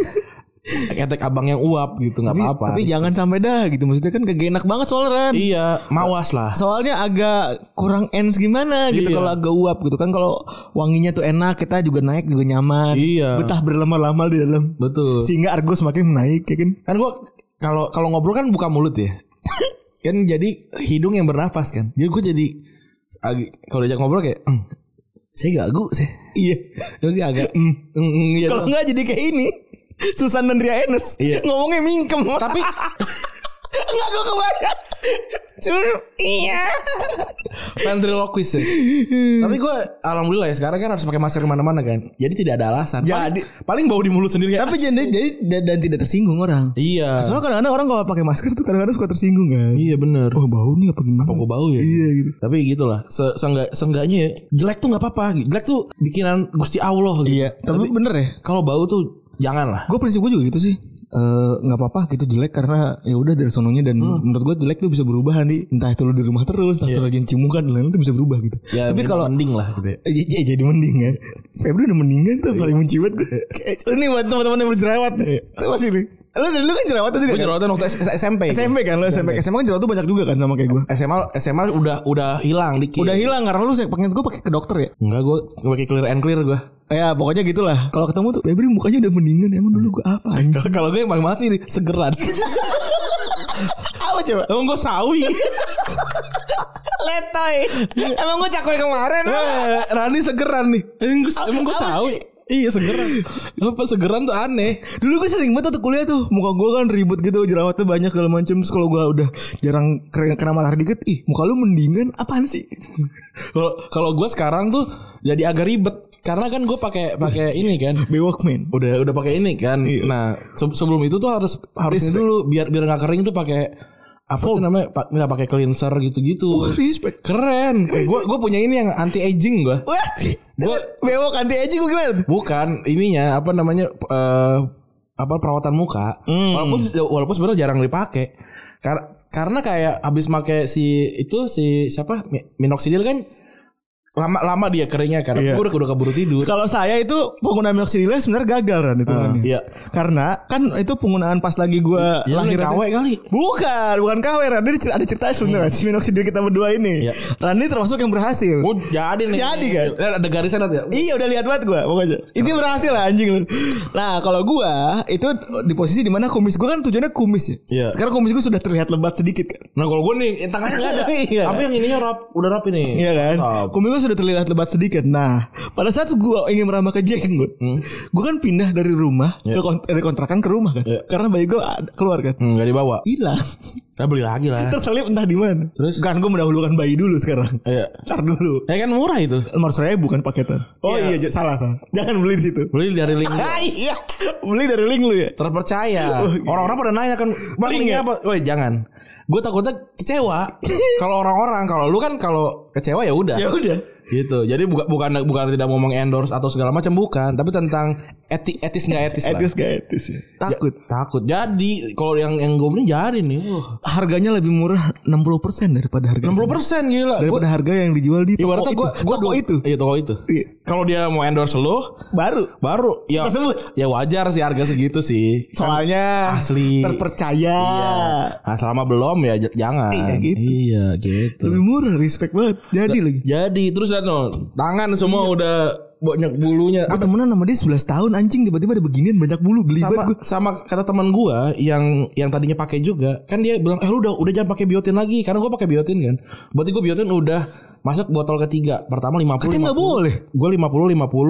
[SPEAKER 2] ketek abang yang uap gitu nggak
[SPEAKER 3] Tapi,
[SPEAKER 2] apa-apa.
[SPEAKER 3] tapi jangan sampai dah gitu. Maksudnya kan kagak enak banget soalnya Ran.
[SPEAKER 2] iya, mawas lah.
[SPEAKER 3] Soalnya agak kurang ends gimana gitu
[SPEAKER 2] Iya.
[SPEAKER 3] kalau agak uap gitu kan kalau wanginya tuh enak kita juga naik juga nyaman.
[SPEAKER 2] Iya.
[SPEAKER 3] Betah berlama-lama di dalam.
[SPEAKER 2] Betul.
[SPEAKER 3] Sehingga argo semakin menaik ya kan.
[SPEAKER 2] Kan gua kalau kalau ngobrol kan buka mulut ya. kan jadi hidung yang bernafas kan. Jadi gue jadi ag- kalau diajak ngobrol kayak "Eng, saya gagu saya.
[SPEAKER 3] Iya.
[SPEAKER 2] Jadi agak "Eng, eng, eng," gitu.
[SPEAKER 3] Kalau nggak jadi kayak ini. Susan dan Ria Enes
[SPEAKER 2] Iya.
[SPEAKER 3] ngomongnya mingkem.
[SPEAKER 2] tapi
[SPEAKER 3] Enggak gue kebayang. Cuma iya.
[SPEAKER 2] ventriloquist ya. Tapi gue alhamdulillah ya sekarang kan harus pakai masker kemana-mana kan. Jadi tidak ada alasan.
[SPEAKER 3] Jadi-
[SPEAKER 2] paling, paling bau di mulut sendiri kayak,
[SPEAKER 3] Tapi jadi jadi dan, dan tidak tersinggung orang.
[SPEAKER 2] Iya.
[SPEAKER 3] Soalnya kadang-kadang orang kalau pakai masker tuh kadang-kadang suka tersinggung kan.
[SPEAKER 2] Iya bener.
[SPEAKER 3] Oh bau nih apa gimana?
[SPEAKER 2] Kok bau ya?
[SPEAKER 3] Iya gitu.
[SPEAKER 2] Tapi gitulah. Se seenggak seenggaknya ya, jelek tuh nggak apa-apa. Jelek tuh bikinan Gusti Allah gitu.
[SPEAKER 3] Tapi,
[SPEAKER 2] Tapi
[SPEAKER 3] bener ya.
[SPEAKER 2] kalau bau tuh jangan lah.
[SPEAKER 3] Gue prinsip gue juga gitu sih. Eh, nggak apa-apa gitu jelek karena ya udah dari sononya dan menurut gue jelek tuh bisa berubah nanti entah itu lu di rumah terus entah itu rajin cimukan dan lain-lain tuh bisa berubah gitu
[SPEAKER 2] Ya,
[SPEAKER 3] tapi kalau
[SPEAKER 2] mending lah gitu. ya.
[SPEAKER 3] Eh, ya, jadi mending kan Febri udah mendingan tuh paling benci banget gue Kayak, ini buat teman-teman yang berjerawat nih Itu masih nih lu lu kan jerawat juga
[SPEAKER 2] Gue
[SPEAKER 3] kan?
[SPEAKER 2] jerawatan waktu S- SMP. gitu.
[SPEAKER 3] SMP kan lo SMP SMA kan jerawat tuh banyak juga kan sama kayak gue
[SPEAKER 2] SMA SMA udah udah hilang dikit.
[SPEAKER 3] udah hilang karena lu saya pengen gue pakai ke dokter ya
[SPEAKER 2] Enggak gue pakai clear and clear gue.
[SPEAKER 3] ya pokoknya gitulah kalau ketemu tuh Febri mukanya udah mendingan emang dulu gue apa anjing
[SPEAKER 2] Kalau gue yang paling males sih segeran.
[SPEAKER 3] apa coba
[SPEAKER 2] Emang gue sawi.
[SPEAKER 3] letoy emang gue cakwe kemarin
[SPEAKER 2] Eh, Rani segeran nih. Emang gue emang gue sawi. Iya segeran. Apa segeran tuh aneh.
[SPEAKER 3] dulu gue sering banget tuh kuliah tuh muka gue kan ribut gitu jerawatnya banyak segala macem terus kalau gue udah jarang kena, kena matahari dikit ih muka lu mendingan apaan sih
[SPEAKER 2] Kalau kalau gue sekarang tuh jadi agak ribet karena kan gue pakai pakai ini kan
[SPEAKER 3] bewok men
[SPEAKER 2] udah udah pakai ini kan. Nah se- sebelum itu tuh harus harusnya dulu biar biar nggak kering tuh pakai apa sih namanya pa, nggak pakai cleanser gitu-gitu.
[SPEAKER 3] respect
[SPEAKER 2] Keren. Gue gue punya ini yang anti aging gue.
[SPEAKER 3] Wah, bewok anti aging gue gimana? tuh?
[SPEAKER 2] Bukan ininya apa namanya eh, apa perawatan muka.
[SPEAKER 3] Hmm.
[SPEAKER 2] Walaupun walaupun sebenarnya jarang dipakai. Karena karena kayak habis make si itu si siapa Mi- minoxidil kan lama lama dia keringnya karena
[SPEAKER 3] Iya.
[SPEAKER 2] gue udah, udah keburu tidur.
[SPEAKER 3] Kalau saya itu penggunaan minoxidilnya sebenarnya gagal kan itu. kan.
[SPEAKER 2] iya.
[SPEAKER 3] Karena kan itu penggunaan pas lagi gue
[SPEAKER 2] Ya, lu
[SPEAKER 3] lahir
[SPEAKER 2] naik KW
[SPEAKER 3] aja.
[SPEAKER 2] kali.
[SPEAKER 3] Bukan, bukan KW Ran. Ini cer- ada ceritanya sebenarnya si minoxidil kita berdua ini.
[SPEAKER 2] Iya.
[SPEAKER 3] Ran ini termasuk yang berhasil.
[SPEAKER 2] Gue jadi nih.
[SPEAKER 3] Oh, Jadi kan?
[SPEAKER 2] Lihat ya. Ada garisan ada.
[SPEAKER 3] Iya udah lihat banget gue pokoknya. Itu berhasil lah anjing lu. Nah kalau gue itu di posisi dimana kumis gue kan tujuannya kumis ya.
[SPEAKER 2] Iya.
[SPEAKER 3] Sekarang kumis gue sudah terlihat lebat sedikit kan.
[SPEAKER 2] Nah kalau gue nih yang tangannya nggak ada.
[SPEAKER 3] Iya.
[SPEAKER 2] Tapi yang ininya rap, udah rapi nih.
[SPEAKER 3] Iya kan?
[SPEAKER 2] Mantap.
[SPEAKER 3] Kumis gue sudah terlihat lebat sedikit. Nah, pada saat gue ingin merambah ke jenggot, gue kan pindah dari rumah ke kont- dari kontrakan ke rumah kan,
[SPEAKER 2] Iya.
[SPEAKER 3] karena bayi gue keluar kan,
[SPEAKER 2] Hmm, gak dibawa.
[SPEAKER 3] hilang.
[SPEAKER 2] Kita beli lagi lah.
[SPEAKER 3] Terselip entah di mana.
[SPEAKER 2] Terus?
[SPEAKER 3] kan gue mendahulukan bayi dulu sekarang.
[SPEAKER 2] Iya.
[SPEAKER 3] Ntar dulu.
[SPEAKER 2] Ya kan murah itu.
[SPEAKER 3] Nomor saya bukan paketan. Oh iya, j- salah salah. Jangan beli di situ.
[SPEAKER 2] Beli dari link.
[SPEAKER 3] Ah, iya. Beli dari link lu ya.
[SPEAKER 2] terpercaya. Orang-orang pada nanya kan, "Bang,
[SPEAKER 3] Link
[SPEAKER 2] ini
[SPEAKER 3] ya?"
[SPEAKER 2] apa?" Woi, jangan. Gue takutnya kecewa. kalau orang-orang, kalau lu kan kalau kecewa ya udah.
[SPEAKER 3] Ya udah.
[SPEAKER 2] gitu. Jadi bukan bukan bukan tidak mau endorse atau segala macam bukan, tapi tentang eti, etis nggak etis lah.
[SPEAKER 3] Etis gak etis ya? Takut.
[SPEAKER 2] Takut. Jadi kalau yang yang gue beli jadi nih, Uh. wah,
[SPEAKER 3] Ya, Harganya lebih murah 60% daripada harga.
[SPEAKER 2] 60 persen gila. Gua,
[SPEAKER 3] daripada harga yang dijual di toko
[SPEAKER 2] ibaratnya
[SPEAKER 3] itu.
[SPEAKER 2] gue gue
[SPEAKER 3] toko itu.
[SPEAKER 2] Iya toko itu.
[SPEAKER 3] Iya.
[SPEAKER 2] Kalau dia mau endorse lo,
[SPEAKER 3] Baru.
[SPEAKER 2] baru ya
[SPEAKER 3] Tersebut.
[SPEAKER 2] ya wajar sih harga segitu sih.
[SPEAKER 3] Soalnya
[SPEAKER 2] Asli.
[SPEAKER 3] terpercaya.
[SPEAKER 2] Nah, selama belum ya j- jangan.
[SPEAKER 3] Iya, gitu.
[SPEAKER 2] Iya, gitu.
[SPEAKER 3] Lebih murah, respect banget. Jadi lagi.
[SPEAKER 2] Jadi terus lihat no, tangan semua
[SPEAKER 3] Iya.
[SPEAKER 2] udah banyak bulunya.
[SPEAKER 3] Gue temenan sama dia 11 tahun anjing tiba-tiba ada beginian banyak bulu geli
[SPEAKER 2] sama,
[SPEAKER 3] banget gue.
[SPEAKER 2] sama kata teman gua yang yang tadinya pakai juga kan dia bilang eh lu udah udah jangan pakai biotin lagi karena gua pakai biotin kan berarti gua biotin udah masuk botol ketiga pertama 50
[SPEAKER 3] Katanya nggak
[SPEAKER 2] 50.
[SPEAKER 3] boleh. Hmm.
[SPEAKER 2] gua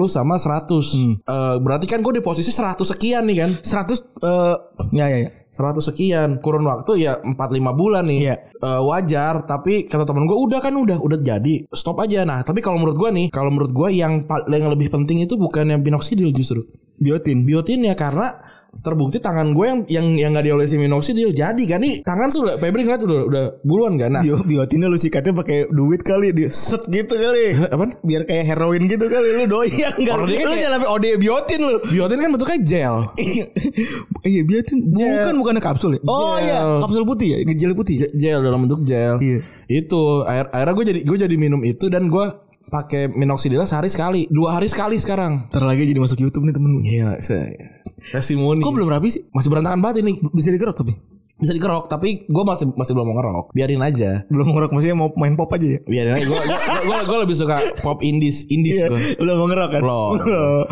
[SPEAKER 2] 50 50 sama 100 Eh, berarti kan gua di posisi 100 sekian nih kan
[SPEAKER 3] 100 eh ya ya ya.
[SPEAKER 2] 100 sekian kurun waktu ya 4 5 bulan nih.
[SPEAKER 3] Iya.
[SPEAKER 2] Eh, wajar, tapi kata temen gue udah kan udah udah jadi. Stop aja. Nah, tapi kalau menurut gue nih, kalau menurut gue yang pa- yang lebih penting itu bukan yang minoxidil justru.
[SPEAKER 3] Biotin.
[SPEAKER 2] Biotin ya karena terbukti tangan gue yang yang yang gak diolesi minoxidil jadi kan nih tangan tuh udah- Febri ngeliat udah udah buluan kan nah
[SPEAKER 3] Bio, biotinnya lu sikatnya pakai duit kali di set gitu kali.
[SPEAKER 2] apa
[SPEAKER 3] Biar kayak heroin gitu kali lu doyan enggak.
[SPEAKER 2] Orang dia
[SPEAKER 3] Lu
[SPEAKER 2] kayak-
[SPEAKER 3] jangan sampai ode biotin lu.
[SPEAKER 2] biotin kan bentuknya gel
[SPEAKER 3] iya biotin bukan bukan kapsul ya. Oh
[SPEAKER 2] Gel.
[SPEAKER 3] iya, kapsul putih ya, gel putih ya.
[SPEAKER 2] J- gel dalam bentuk gel
[SPEAKER 3] Iya.
[SPEAKER 2] itu air akhirnya gue jadi gue jadi minum itu dan gue pakai minoxidil sehari sekali dua hari sekali sekarang
[SPEAKER 3] Ntar lagi jadi masuk YouTube nih Iya. temen gue.
[SPEAKER 2] Gila, saya testimoni.
[SPEAKER 3] Kok belum rapi sih?
[SPEAKER 2] masih berantakan banget ini.
[SPEAKER 3] Bisa dikerok tapi.
[SPEAKER 2] Bisa dikerok, tapi gue masih masih belum mau ngerok. Biarin aja.
[SPEAKER 3] Belum ngerok maksudnya mau main pop aja ya.
[SPEAKER 2] Biarin aja. Iya. Gue lebih suka pop indies, indies gue.
[SPEAKER 3] Iya, Belum mau ngerok kan?
[SPEAKER 2] Belum.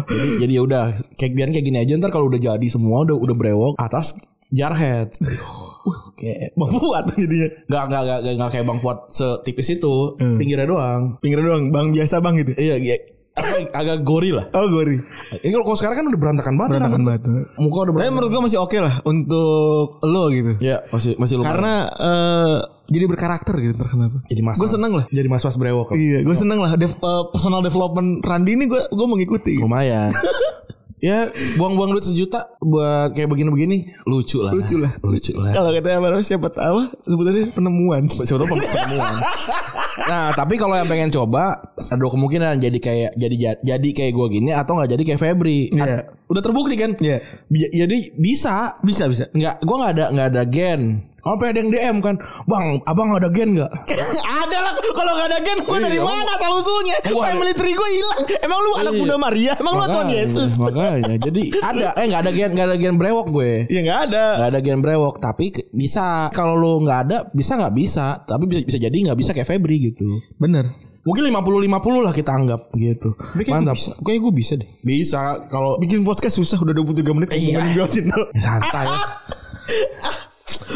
[SPEAKER 2] jadi jadi ya udah kayak biarin kayak gini aja ntar kalau udah jadi semua udah udah brewok atas jarhead. Oke.
[SPEAKER 3] Bang Fuad jadinya.
[SPEAKER 2] Gak, gak, gak, gak, gak kayak Bang Fuad setipis itu Pinggirnya doang
[SPEAKER 3] Pinggir doang, bang biasa bang gitu.
[SPEAKER 2] Iya, iya. Apa, agak gori lah
[SPEAKER 3] Oh gori.
[SPEAKER 2] Ini kalau kalau sekarang kan udah berantakan banget ya,
[SPEAKER 3] Berantakan banget.
[SPEAKER 2] rambut. Muka udah
[SPEAKER 3] Tapi
[SPEAKER 2] berantakan
[SPEAKER 3] menurut gue masih oke lah untuk lo gitu.
[SPEAKER 2] Ya masih, masih lumayan
[SPEAKER 3] Karena eh, jadi berkarakter gitu ntar kenapa.
[SPEAKER 2] Jadi mas
[SPEAKER 3] Gue seneng lah.
[SPEAKER 2] Jadi mas-mas brewok
[SPEAKER 3] Iya, gue seneng lah. Dev- eh, personal development Randi ini gue gue mengikuti. gitu.
[SPEAKER 2] Lumayan. ya buang-buang duit sejuta buat kayak begini-begini lucu lah.
[SPEAKER 3] Lucu lah.
[SPEAKER 2] Lucu lah.
[SPEAKER 3] Kalau kata Amaro siapa tahu sebutannya penemuan.
[SPEAKER 2] Siapa tahu penemuan. Nah, tapi kalau yang pengen coba ada dua kemungkinan jadi kayak jadi jadi kayak gue gini atau nggak jadi kayak Febri. Ad-
[SPEAKER 3] Iya.
[SPEAKER 2] Udah terbukti kan?
[SPEAKER 3] Iya.
[SPEAKER 2] Bi- Jadi bisa
[SPEAKER 3] Bisa bisa.
[SPEAKER 2] nggak gue nggak ada nggak ada gen. Kalau ada yang DM kan, bang, abang ada gen nggak?
[SPEAKER 3] ada lah kalau gak ada gen gue dari
[SPEAKER 2] Iya.
[SPEAKER 3] mana asal usulnya
[SPEAKER 2] Wah,
[SPEAKER 3] family tree gue hilang emang lu anak
[SPEAKER 2] Iya.
[SPEAKER 3] Bunda Maria emang lu Tuhan
[SPEAKER 2] Makanya-
[SPEAKER 3] Yesus
[SPEAKER 2] Makanya, jadi ada, eh nggak ada gen, nggak ada gen brewok gue.
[SPEAKER 3] ya nggak ada
[SPEAKER 2] Gak ada gen brewok Tapi ke- bisa Kalau lo gak ada Bisa gak bisa Tapi bisa bisa jadi gak bisa kayak Febri gitu
[SPEAKER 3] bener
[SPEAKER 2] Mungkin 50-50 lah kita anggap gitu Mantap Bisa,
[SPEAKER 3] kayak gue bisa deh
[SPEAKER 2] kalau
[SPEAKER 3] bikin podcast susah udah 23 menit
[SPEAKER 2] Iya.
[SPEAKER 3] ngomongin biotin tuh
[SPEAKER 2] Ya, Santai ya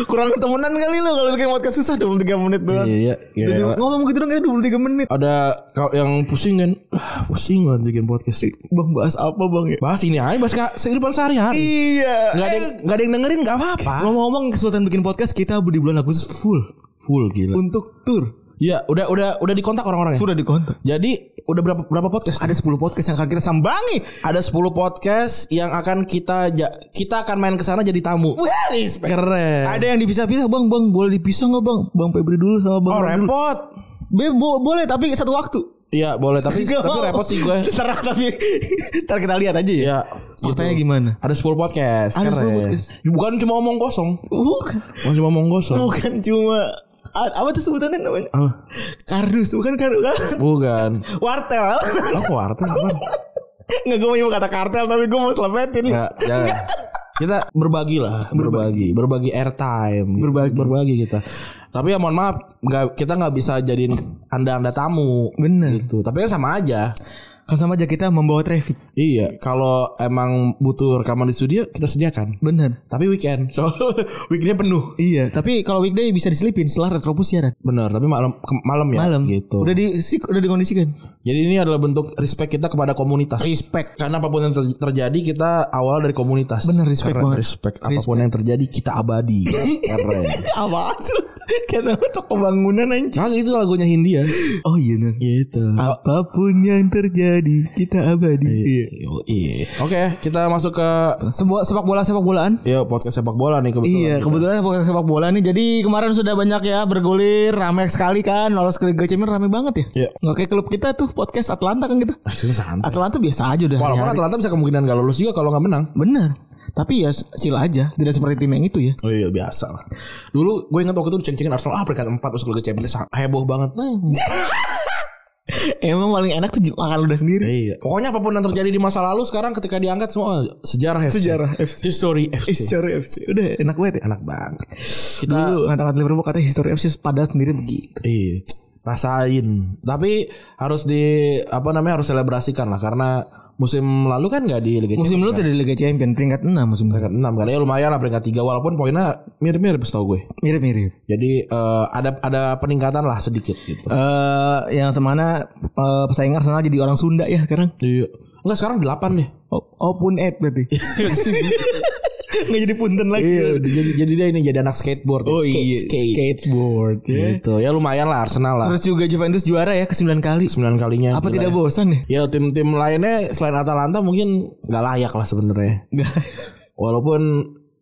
[SPEAKER 3] kurang ketemenan kali lu kalau bikin podcast susah 23 menit doang
[SPEAKER 2] Iya iya,
[SPEAKER 3] Jadi,
[SPEAKER 2] iya.
[SPEAKER 3] ngomong gitu dong kita 23 menit
[SPEAKER 2] Ada kalau yang pusing kan ah, Pusing banget bikin podcast
[SPEAKER 3] bang bahas apa bang ya
[SPEAKER 2] Bahas ini aja Bahas ka- kehidupan sehari-hari
[SPEAKER 3] iya
[SPEAKER 2] Gak ada, yang, nggak ada yang dengerin gak apa-apa
[SPEAKER 3] ngomong-ngomong kesulitan bikin podcast kita di bulan Agustus full
[SPEAKER 2] Full gila
[SPEAKER 3] untuk tour
[SPEAKER 2] Iya udah udah udah dikontak orang-orangnya
[SPEAKER 3] sudah dikontak
[SPEAKER 2] Jadi udah berapa berapa podcast
[SPEAKER 3] ada 10 podcast yang akan kita sambangi
[SPEAKER 2] ada 10 podcast yang akan kita ja- kita akan main ke sana jadi tamu.
[SPEAKER 3] wah respect
[SPEAKER 2] Keren.
[SPEAKER 3] Ada yang dipisah-pisah bang bang boleh dipisah nggak bang bang Febri dulu sama bang
[SPEAKER 2] Oh
[SPEAKER 3] Ron dulu.
[SPEAKER 2] repot.
[SPEAKER 3] Be- bo- boleh tapi satu waktu
[SPEAKER 2] Iya boleh tapi
[SPEAKER 3] Nggak
[SPEAKER 2] tapi
[SPEAKER 3] mau.
[SPEAKER 2] repot sih gue.
[SPEAKER 3] terserah tapi ntar kita lihat aja ya,
[SPEAKER 2] Iya.
[SPEAKER 3] faktanya
[SPEAKER 2] gitu.
[SPEAKER 3] gimana
[SPEAKER 2] Ada 10 podcast.
[SPEAKER 3] Ada 10
[SPEAKER 2] keren.
[SPEAKER 3] podcast.
[SPEAKER 2] Bukan cuma omong kosong.
[SPEAKER 3] bukan
[SPEAKER 2] Bukan cuma omong kosong.
[SPEAKER 3] bukan cuma a- apa tuh sebutannya namanya
[SPEAKER 2] Ah,
[SPEAKER 3] kardus bukan kardus kan?
[SPEAKER 2] bukan.
[SPEAKER 3] wartel
[SPEAKER 2] Oh warteg apa?
[SPEAKER 3] nggak gue mau kata kartel tapi gue mau selepetin
[SPEAKER 2] Ya, jangan. Kita berbagi lah, berbagi, berbagi airtime, gitu.
[SPEAKER 3] Berbagi.
[SPEAKER 2] berbagi kita. Tapi ya mohon maaf, nggak kita nggak bisa jadiin anda anda tamu.
[SPEAKER 3] Bener.
[SPEAKER 2] Gitu. Tapi kan sama aja.
[SPEAKER 3] kan sama aja kita membawa traffic
[SPEAKER 2] Iya, kalau emang butuh rekaman di studio kita sediakan.
[SPEAKER 3] bener
[SPEAKER 2] Tapi weekend, soalnya weekendnya penuh.
[SPEAKER 3] iya tapi kalau weekday bisa diselipin setelah retropus siaran
[SPEAKER 2] Bener, tapi malam ke- malam ya
[SPEAKER 3] malam
[SPEAKER 2] gitu.
[SPEAKER 3] udah di udah dikondisikan
[SPEAKER 2] Jadi ini adalah bentuk respect kita kepada komunitas.
[SPEAKER 3] respect
[SPEAKER 2] Karena apapun yang ter- terjadi kita awal dari komunitas.
[SPEAKER 3] Bener, respect banget.
[SPEAKER 2] Respect. Apapun yang terjadi kita abadi. Keren.
[SPEAKER 3] apa sih lu? Kata lu toko bangunan anjing.
[SPEAKER 2] Kagak itu lagunya Hindia.
[SPEAKER 3] Oh iya bener.
[SPEAKER 2] Gitu.
[SPEAKER 3] Apapun yang terjadi kita abadi. Iya.
[SPEAKER 2] Iya. Oke, kita masuk ke
[SPEAKER 3] Sebuah sepak bola sepak bolaan.
[SPEAKER 2] ya podcast sepak bola nih kebetulan.
[SPEAKER 3] Iya, kebetulan fokus sepak bola nih. Jadi kemarin sudah banyak ya bergulir, ramai sekali kan. Lolos ke Liga Champions ramai banget
[SPEAKER 2] Iya.
[SPEAKER 3] ya. Nggak kayak klub kita tuh podcast Atlanta kan kita.
[SPEAKER 2] Ah, itu santai.
[SPEAKER 3] Atlanta biasa aja udah.
[SPEAKER 2] Walaupun
[SPEAKER 3] hari-hari.
[SPEAKER 2] Atlanta bisa kemungkinan gak lulus juga kalau nggak menang.
[SPEAKER 3] Bener. Tapi ya chill aja, tidak seperti tim yang itu ya.
[SPEAKER 2] Oh iya biasa lah. Dulu gue ingat waktu itu diceng-cengin Arsenal ah peringkat 4 masuk Liga Champions ah, heboh banget. Nah,
[SPEAKER 3] Emang paling enak tuh makan udah sendiri.
[SPEAKER 2] iya. Pokoknya apapun yang terjadi di masa lalu sekarang ketika diangkat semua oh, sejarah Iya. FC.
[SPEAKER 3] Sejarah FC.
[SPEAKER 2] History FC.
[SPEAKER 3] History FC. Udah enak banget ya.
[SPEAKER 2] Enak banget. Kita
[SPEAKER 3] Dulu ngata-ngata Liverpool katanya history FC padahal sendiri begitu.
[SPEAKER 2] Iya. Rasain. Tapi harus di apa namanya harus selebrasikan lah karena musim lalu kan nggak di Liga
[SPEAKER 3] Musim lalu tidak di Liga Champions peringkat 6 musim lalu.
[SPEAKER 2] peringkat 6 kan ya lumayan lah peringkat 3 walaupun poinnya mirip-mirip setahu gue.
[SPEAKER 3] Mirip-mirip.
[SPEAKER 2] Jadi eh, ada ada peningkatan lah sedikit gitu.
[SPEAKER 3] Eh yang semana eh, pesaing Arsenal jadi orang Sunda ya sekarang.
[SPEAKER 2] Iya. Enggak sekarang 8 deh.
[SPEAKER 3] Oh, oh pun Ed berarti. Nggak jadi punten lagi.
[SPEAKER 2] jadi jadi dia ini jadi anak skateboard.
[SPEAKER 3] Iya. Oh
[SPEAKER 2] Skate-
[SPEAKER 3] iya,
[SPEAKER 2] skate.
[SPEAKER 3] skateboard ya.
[SPEAKER 2] Gitu. Ya lumayan lah Arsenal lah.
[SPEAKER 3] Terus juga Juventus juara ya ke 9 kali.
[SPEAKER 2] 9 kalinya.
[SPEAKER 3] Apa
[SPEAKER 2] Gila
[SPEAKER 3] tidak
[SPEAKER 2] ya.
[SPEAKER 3] bosan ya?
[SPEAKER 2] Ya tim-tim lainnya selain Atalanta mungkin nggak layak lah sebenarnya.
[SPEAKER 3] Nggak.
[SPEAKER 2] Walaupun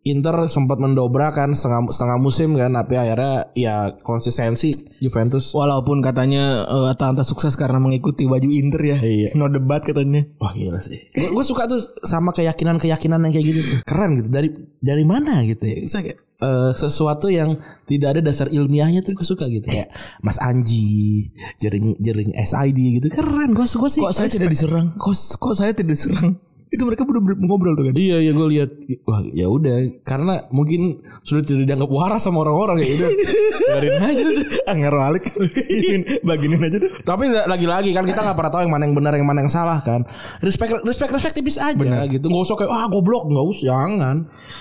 [SPEAKER 2] Inter sempat mendobrak kan setengah, setengah musim kan tapi akhirnya ya konsistensi Juventus.
[SPEAKER 3] Walaupun katanya eh, Atalanta sukses karena mengikuti baju Inter ya.
[SPEAKER 2] Iya.
[SPEAKER 3] No debat katanya.
[SPEAKER 2] Wah gila sih. Gue suka tuh sama keyakinan-keyakinan yang kayak gitu. tuh. Keren gitu. Dari dari mana gitu ya. Saya kayak, eh, sesuatu yang tidak ada dasar ilmiahnya tuh gue suka gitu kayak Mas Anji jering jering SID gitu keren gue gue sih
[SPEAKER 3] Kok saya tidak diserang? Kok, kok saya tidak diserang? Itu mereka udah ber- ngobrol tuh kan.
[SPEAKER 2] Iya ya gue lihat wah ya udah karena mungkin sudah tidak dianggap waras sama orang-orang ya udah biarin aja udah.
[SPEAKER 3] Anger Ah, balik. Iya. Baginin aja deh.
[SPEAKER 2] Tapi la- lagi-lagi kan kita nggak pernah tahu yang mana yang benar yang mana yang salah kan. Respect respect respect tipis aja gitu. Nggak usah kayak ah goblok nggak usah jangan.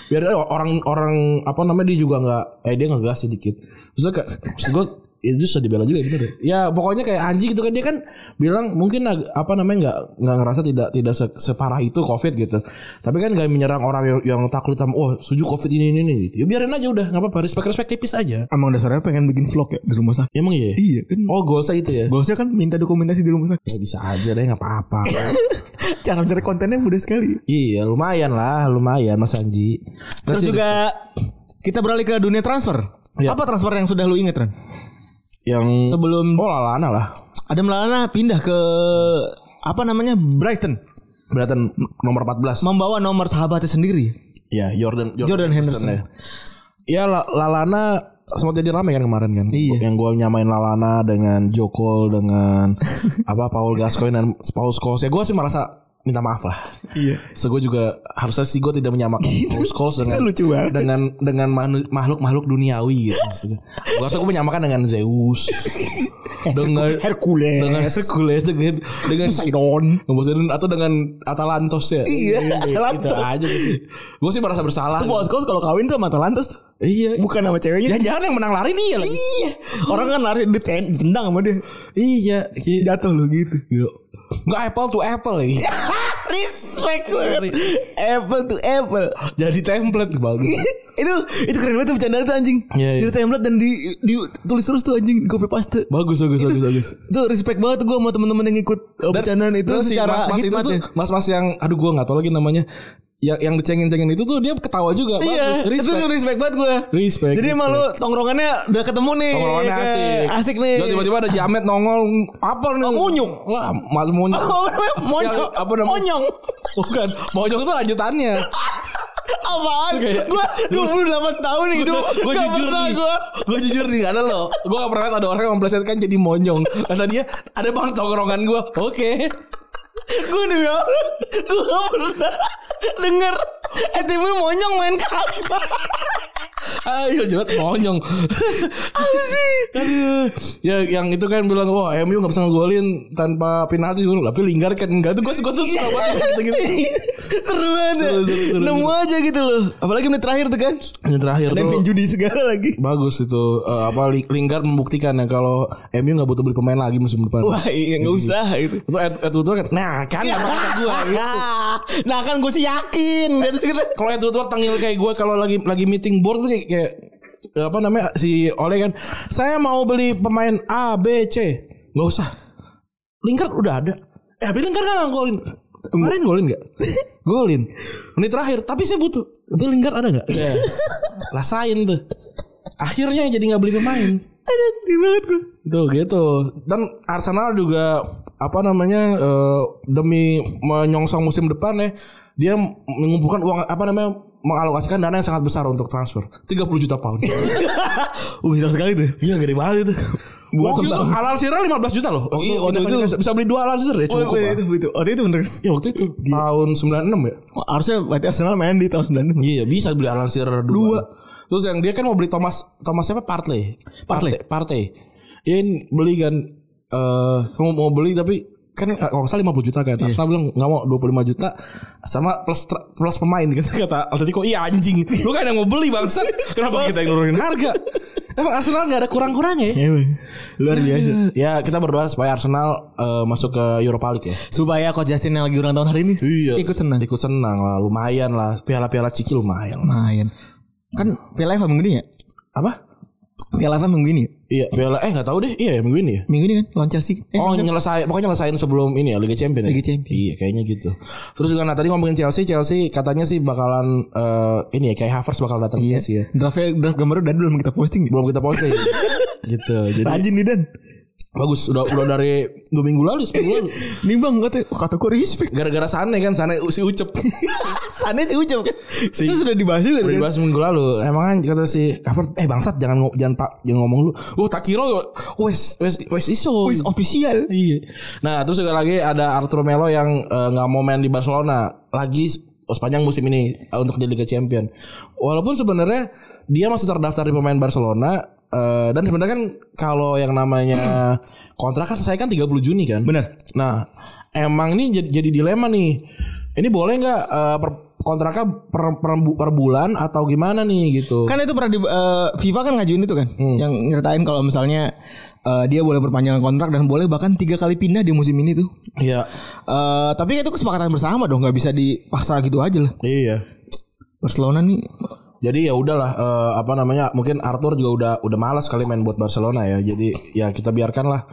[SPEAKER 2] Biar ada orang orang apa namanya dia juga nggak eh dia ngegas sedikit. Terus kayak maksud gue itu sudah dibela juga ya bener ya. Ya, pokoknya kayak anjing gitu kan dia kan bilang mungkin ag- apa namanya nggak nggak ngerasa tidak tidak se- separah itu covid gitu. Tapi kan nggak menyerang orang yang, yang takut sama oh suju covid ini ini, ini gitu. Ya biarin aja udah nggak apa-apa respect respect tipis aja.
[SPEAKER 3] Emang dasarnya pengen bikin vlog ya di rumah sakit.
[SPEAKER 2] Emang iya. ya?
[SPEAKER 3] Iya kan.
[SPEAKER 2] Oh gak usah itu ya.
[SPEAKER 3] Bosnya kan minta dokumentasi di rumah sakit.
[SPEAKER 2] Ya bisa aja deh nggak apa-apa.
[SPEAKER 3] Cara mencari kontennya mudah sekali.
[SPEAKER 2] Iya lumayan lah lumayan Mas Anji
[SPEAKER 3] Terus juga kita beralih ke dunia transfer.
[SPEAKER 2] Iya.
[SPEAKER 3] Apa transfer yang sudah lu inget Ran?
[SPEAKER 2] yang
[SPEAKER 3] Sebelum
[SPEAKER 2] Oh Lalana lah
[SPEAKER 3] Adam Lallana pindah ke apa namanya Brighton
[SPEAKER 2] Beratan nomor 14
[SPEAKER 3] membawa nomor sahabatnya sendiri
[SPEAKER 2] Ya Jordan
[SPEAKER 3] Jordan Henderson.
[SPEAKER 2] Ya La- Lalana sempat jadi rame kan kemarin kan
[SPEAKER 3] Iya.
[SPEAKER 2] Yang gue nyamain Lalana dengan Jokol Dengan apa Paul Gascoigne dan Paul Scholes Ya gue sih merasa minta maaf lah
[SPEAKER 3] Iya.
[SPEAKER 2] So gue juga harusnya sih gue tidak menyamakan Paul Scholes dengan
[SPEAKER 3] Itu lucu banget.
[SPEAKER 2] dengan dengan manu- makhluk-makhluk duniawi gitu maksudnya. Gue rasa gue menyamakan dengan Zeus dengan
[SPEAKER 3] Hercules.
[SPEAKER 2] dengan Hercules dengan dengan
[SPEAKER 3] Poseidon.
[SPEAKER 2] ngebosenin atau dengan Atalantos ya
[SPEAKER 3] Iya, Atalantos.
[SPEAKER 2] Atalantos aja sih gue sih merasa bersalah
[SPEAKER 3] Tuh bos kau kalau kawin tuh sama Atalantas tuh.
[SPEAKER 2] iya
[SPEAKER 3] Bukan sama ceweknya.
[SPEAKER 2] jangan jangan yang menang lari nih ya lagi
[SPEAKER 3] Iya. Orang kan lari diten- ditendang sama dia.
[SPEAKER 2] iya iya
[SPEAKER 3] Jatuh lu gitu.
[SPEAKER 2] nggak apple to apple lagi
[SPEAKER 3] Respect gue. Apple to apple.
[SPEAKER 2] jadi template bagus
[SPEAKER 3] itu itu keren banget tuh bercandaan tuh anjing.
[SPEAKER 2] Iya, iya.
[SPEAKER 3] Jadi template dan di, di tulis terus tuh anjing di copy paste.
[SPEAKER 2] bagus bagus bagus bagus
[SPEAKER 3] Itu respect banget gue sama temen-temen yang ikut uh, bercandaan itu
[SPEAKER 2] Dan si
[SPEAKER 3] secara
[SPEAKER 2] mas-mas itu
[SPEAKER 3] hikmat
[SPEAKER 2] tuh
[SPEAKER 3] ya.
[SPEAKER 2] mas-mas yang aduh gue nggak tahu lagi namanya yang yang dicengin-cengin itu tuh dia ketawa juga
[SPEAKER 3] Iya,
[SPEAKER 2] bagus
[SPEAKER 3] itu
[SPEAKER 2] respect
[SPEAKER 3] respect banget gue.
[SPEAKER 2] Respect,
[SPEAKER 3] Jadi emang lu
[SPEAKER 2] respect.
[SPEAKER 3] tongkrongannya udah ketemu nih.
[SPEAKER 2] Tongkrongannya
[SPEAKER 3] kayak
[SPEAKER 2] asik.
[SPEAKER 3] Asik nih.
[SPEAKER 2] Lalu tiba-tiba ada jamet nongol apa nih?
[SPEAKER 3] Oh, munyuk.
[SPEAKER 2] Wah, mas munyuk.
[SPEAKER 3] Oh, namanya
[SPEAKER 2] Yang
[SPEAKER 3] monyong.
[SPEAKER 2] Ya, apa namanya?
[SPEAKER 3] Monyong.
[SPEAKER 2] Bukan, monyok itu lanjutannya.
[SPEAKER 3] Apaan?
[SPEAKER 2] Kayak-
[SPEAKER 3] Gue 28 tahun hidup.
[SPEAKER 2] gue
[SPEAKER 3] Gak
[SPEAKER 2] jujur
[SPEAKER 3] pernah
[SPEAKER 2] nih,
[SPEAKER 3] gua.
[SPEAKER 2] gue jujur nih karena lo, gue gak pernah liat ada orang yang memplesetkan jadi monyong. Karena dia ada bang tongkrongan gue. Oke.
[SPEAKER 3] Gue demi Allah Gue gak ya. pernah Denger Eh timnya monyong main kata
[SPEAKER 2] Ayo jebat monyong. Aduh. Ya yang itu kan bilang wah MU nggak bisa ngegolin tanpa penalti Gua bilang, tapi linggar kan enggak tuh gue suka tuh suka banget gitu-gitu.
[SPEAKER 3] Iya. Seru banget ya.
[SPEAKER 2] Seru, seru, seru,
[SPEAKER 3] Nemu aja gitu loh Apalagi menit terakhir tuh kan
[SPEAKER 2] Yang terakhir
[SPEAKER 3] Ada yang main
[SPEAKER 2] tuh
[SPEAKER 3] judi segala lagi
[SPEAKER 2] bagus itu eh, apa Li- Lingard membuktikan ya kalau MU nggak butuh beli pemain lagi musim depan.
[SPEAKER 3] Wah iya gak usah gitu
[SPEAKER 2] Itu Ed, Ed Woodward kan. Nah, kan apa kata gue gitu.
[SPEAKER 3] Nah kan gue sih yakin Dia tuh segitu.
[SPEAKER 2] Kalau Ed Woodward tanggil kayak gue kalau lagi lagi meeting board tuh kayak, kayak apa namanya si Ole kan saya mau beli pemain A B C nggak usah Lingkar udah ada eh tapi Lingkar nggak golin kemarin golin nggak golin menit terakhir tapi saya butuh itu Lingkar ada nggak rasain tuh akhirnya jadi nggak beli pemain itu gitu dan Arsenal juga apa namanya eh, demi menyongsong musim depan ya dia mengumpulkan uang apa namanya mengalokasikan dana yang sangat besar untuk transfer 30 juta pound
[SPEAKER 3] uh besar sekali tuh
[SPEAKER 2] Iya gede banget itu.
[SPEAKER 3] Buat
[SPEAKER 2] Waktu itu
[SPEAKER 3] tentang-
[SPEAKER 2] halal sirah 15 juta loh.
[SPEAKER 3] Oh, iya,
[SPEAKER 2] pindah
[SPEAKER 3] waktu
[SPEAKER 2] ke
[SPEAKER 3] itu-
[SPEAKER 2] Newcastle. bisa beli dua halal sirah ya cukup. lah.
[SPEAKER 3] itu itu oh itu bener
[SPEAKER 2] Ya waktu itu tahun 96 ya.
[SPEAKER 3] Oh, harusnya berarti Arsenal main di tahun 96
[SPEAKER 2] Iya bisa beli halal sirah dua. Terus yang dia kan mau beli Thomas Thomas siapa Partey.
[SPEAKER 3] Partey.
[SPEAKER 2] Partey. Iya ini beli kan eh mau, mau beli tapi kan kalau nggak salah 50 juta kan Arsenal bilang nggak mau 25 juta sama plus tra- plus pemain gitu kata Atletico iya anjing lu kan yang mau beli bangsat kenapa kita yang nurunin harga emang Arsenal nggak ada kurang kurangnya ya
[SPEAKER 3] Iya, Bang. luar biasa
[SPEAKER 2] Ya kita berdoa supaya Arsenal eh, masuk ke Europa League ya.
[SPEAKER 3] supaya coach Justin yang lagi ulang tahun hari ini
[SPEAKER 2] Iya.
[SPEAKER 3] ikut senang
[SPEAKER 2] Ikut senang lah, lumayan lah. Piala-piala Ciki lumayan. lah.
[SPEAKER 3] lumayan kan Piala FA minggu ini ya
[SPEAKER 2] Apa?
[SPEAKER 3] Piala FA minggu ini ya?
[SPEAKER 2] Iya, piala eh nggak tahu deh. Iya, ya, minggu ini ya.
[SPEAKER 3] minggu ini kan lawan Chelsea eh,
[SPEAKER 2] Oh nyelesai Pokoknya nyelesain sebelum ini ya Liga Champions ya?
[SPEAKER 3] Liga Champions.
[SPEAKER 2] Iya kayaknya gitu Terus juga nah tadi ngomongin Chelsea Chelsea katanya sih bakalan eh, Ini ya kayak Havertz bakal datang ke
[SPEAKER 3] Iya.
[SPEAKER 2] Chelsea ya
[SPEAKER 3] draftnya draft gambar udah belum kita posting ya?
[SPEAKER 2] Belum kita posting Gitu Jadi
[SPEAKER 3] rajin nih Dan
[SPEAKER 2] bagus Udah udah dari Dua minggu lalu Sepuluh lalu
[SPEAKER 3] nih bang kata kata gue respect
[SPEAKER 2] Gara-gara Sane kan Sane si Ucep
[SPEAKER 3] sana sih ucap kan itu sudah dibahas
[SPEAKER 2] Udah
[SPEAKER 3] juga kan?
[SPEAKER 2] dibahas minggu lalu Emang kan kata si Havertz Eh bangsat jangan ngo- jangan pak jangan ngomong lu Wah tak kira Wes wes wes iso
[SPEAKER 3] Wis official
[SPEAKER 2] Iya Nah terus juga lagi ada Arturo Melo yang eh, nggak mau main di Barcelona Lagi se- sepanjang musim ini eh, Untuk di Liga Champion Walaupun sebenarnya Dia masih terdaftar di pemain Barcelona eh, Dan sebenarnya kan Kalau yang namanya Kontrak kan saya kan 30 Juni kan
[SPEAKER 3] Bener.
[SPEAKER 2] Nah Emang ini jadi, jadi dilema nih Ini boleh nggak eh, per- kontraknya per, per, per bulan atau gimana nih gitu
[SPEAKER 3] kan itu pernah di eh, FIFA kan ngajuin itu kan yang nyeritain kalau misalnya eh, dia boleh perpanjangan kontrak dan boleh bahkan tiga kali pindah di musim ini tuh
[SPEAKER 2] Iya
[SPEAKER 3] Eh, tapi itu kesepakatan bersama dong nggak bisa dipaksa gitu aja lah
[SPEAKER 2] Iya
[SPEAKER 3] Barcelona nih
[SPEAKER 2] Jadi ya udahlah eh, apa namanya mungkin Arthur juga udah udah malas kali main buat Barcelona ya. Jadi ya kita biarkanlah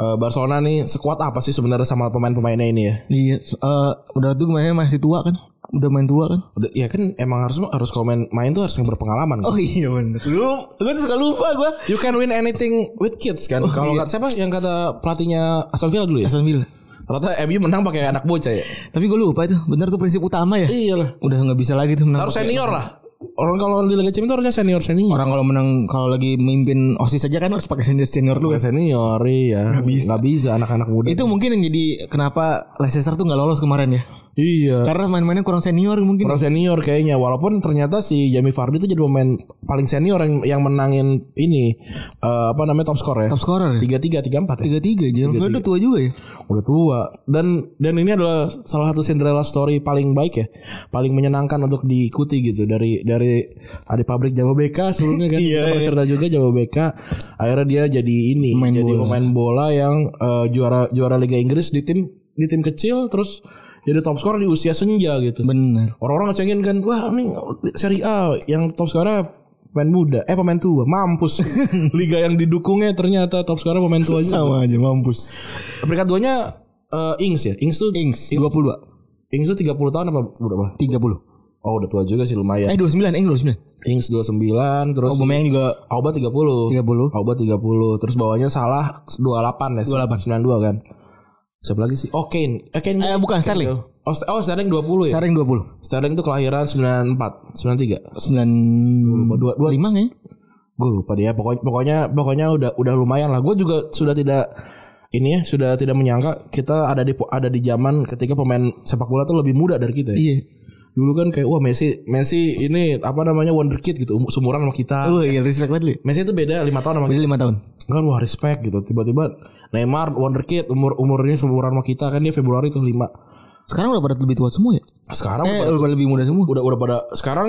[SPEAKER 2] Eh, Barcelona nih sekuat apa sih sebenarnya sama pemain-pemainnya ini ya.
[SPEAKER 3] Iya, eh, udah tuh mainnya masih tua kan? Udah main tua kan?
[SPEAKER 2] Udah- ya kan emang harus harus komen main tuh harus yang berpengalaman. kan?
[SPEAKER 3] Oh iya bener. Lu, gue tuh suka lupa gue.
[SPEAKER 2] You can win anything with kids kan. Kalau kata siapa yang kata pelatihnya Aston Villa dulu ya?
[SPEAKER 3] Oh, iya. Aston Villa.
[SPEAKER 2] Ternyata MU menang pakai anak bocah ya.
[SPEAKER 3] Tapi gue lupa itu. Bener tuh prinsip utama ya.
[SPEAKER 2] Iyalah.
[SPEAKER 3] Udah nggak bisa lagi tuh menang.
[SPEAKER 2] Harus senior lah. Orang kalau di Liga Champions itu harusnya senior senior.
[SPEAKER 3] Orang kalau menang kalau lagi mimpin osis aja kan harus pakai senior senior dulu. kan.
[SPEAKER 2] Senior iya. Gak bisa. anak-anak muda.
[SPEAKER 3] Itu mungkin yang jadi kenapa Leicester tuh nggak lolos kemarin ya?
[SPEAKER 2] iya.
[SPEAKER 3] Karena main-mainnya kurang senior mungkin. ya.
[SPEAKER 2] Pro senior kayaknya walaupun ternyata si Jamie Vardy itu jadi pemain paling senior yang yang menangin ini eh, apa namanya top score ya.
[SPEAKER 3] Top scorer ya.
[SPEAKER 2] Tiga tiga tiga empat ya.
[SPEAKER 3] Tiga tiga. Jangan Fred udah tua juga ya.
[SPEAKER 2] Udah tua dan dan ini adalah salah satu Cinderella story paling baik ya, paling menyenangkan untuk diikuti gitu dari dari ada pabrik Jawa BK sebelumnya kan Kita pernah cerita juga Jawa BK akhirnya dia jadi ini jadi pemain bola yang eh, juara juara Liga Inggris di tim di tim kecil terus jadi top skor di usia senja gitu.
[SPEAKER 3] Bener.
[SPEAKER 2] Orang-orang ngecengin kan, wah ini Serie A yang top sekarang pemain muda, eh pemain tua, mampus. Liga yang didukungnya ternyata top sekarang pemain tua aja.
[SPEAKER 3] Sama aja mampus.
[SPEAKER 2] Peringkat duanya eh, Ings ya. Ings tuh
[SPEAKER 3] Ings dua puluh dua.
[SPEAKER 2] Ings tuh 30 tahun apa berapa?
[SPEAKER 3] Tiga puluh.
[SPEAKER 2] Oh, udah tua juga sih lumayan.
[SPEAKER 3] Eh dua sembilan. Eh dua sembilan.
[SPEAKER 2] Ings 29 terus
[SPEAKER 3] Aubameyang juga
[SPEAKER 2] Auba 30.
[SPEAKER 3] 30.
[SPEAKER 2] Auba 30. Terus bawahnya salah 28 ya. 28 92 kan. Siapa lagi sih? Oh, Kane. Eh, Kane.
[SPEAKER 3] Eh bukan Sterling.
[SPEAKER 2] Oh, Ster- oh, Sterling 20 ya.
[SPEAKER 3] Sterling dua puluh.
[SPEAKER 2] Sterling tuh kelahiran 94, 93.
[SPEAKER 3] sembilan dua dua lima kayaknya
[SPEAKER 2] gue lupa dia pokoknya pokoknya pokoknya udah udah lumayan lah gue juga sudah tidak ini ya sudah tidak menyangka kita ada di ada di zaman ketika pemain sepak bola tuh lebih muda dari kita ya.
[SPEAKER 3] iya
[SPEAKER 2] dulu kan kayak wah Messi Messi ini apa namanya wonderkid gitu um- seumuran sama kita
[SPEAKER 3] oh iya respect banget li
[SPEAKER 2] Messi itu beda lima tahun sama
[SPEAKER 3] beda
[SPEAKER 2] kita
[SPEAKER 3] lima tahun
[SPEAKER 2] kan wah respect gitu tiba-tiba Neymar wonderkid umur umurnya seumuran sama kita kan dia Februari tuh lima
[SPEAKER 3] sekarang udah pada lebih tua semua ya
[SPEAKER 2] sekarang
[SPEAKER 3] eh
[SPEAKER 2] udah-
[SPEAKER 3] udah pada lebih muda semua
[SPEAKER 2] udah udah pada sekarang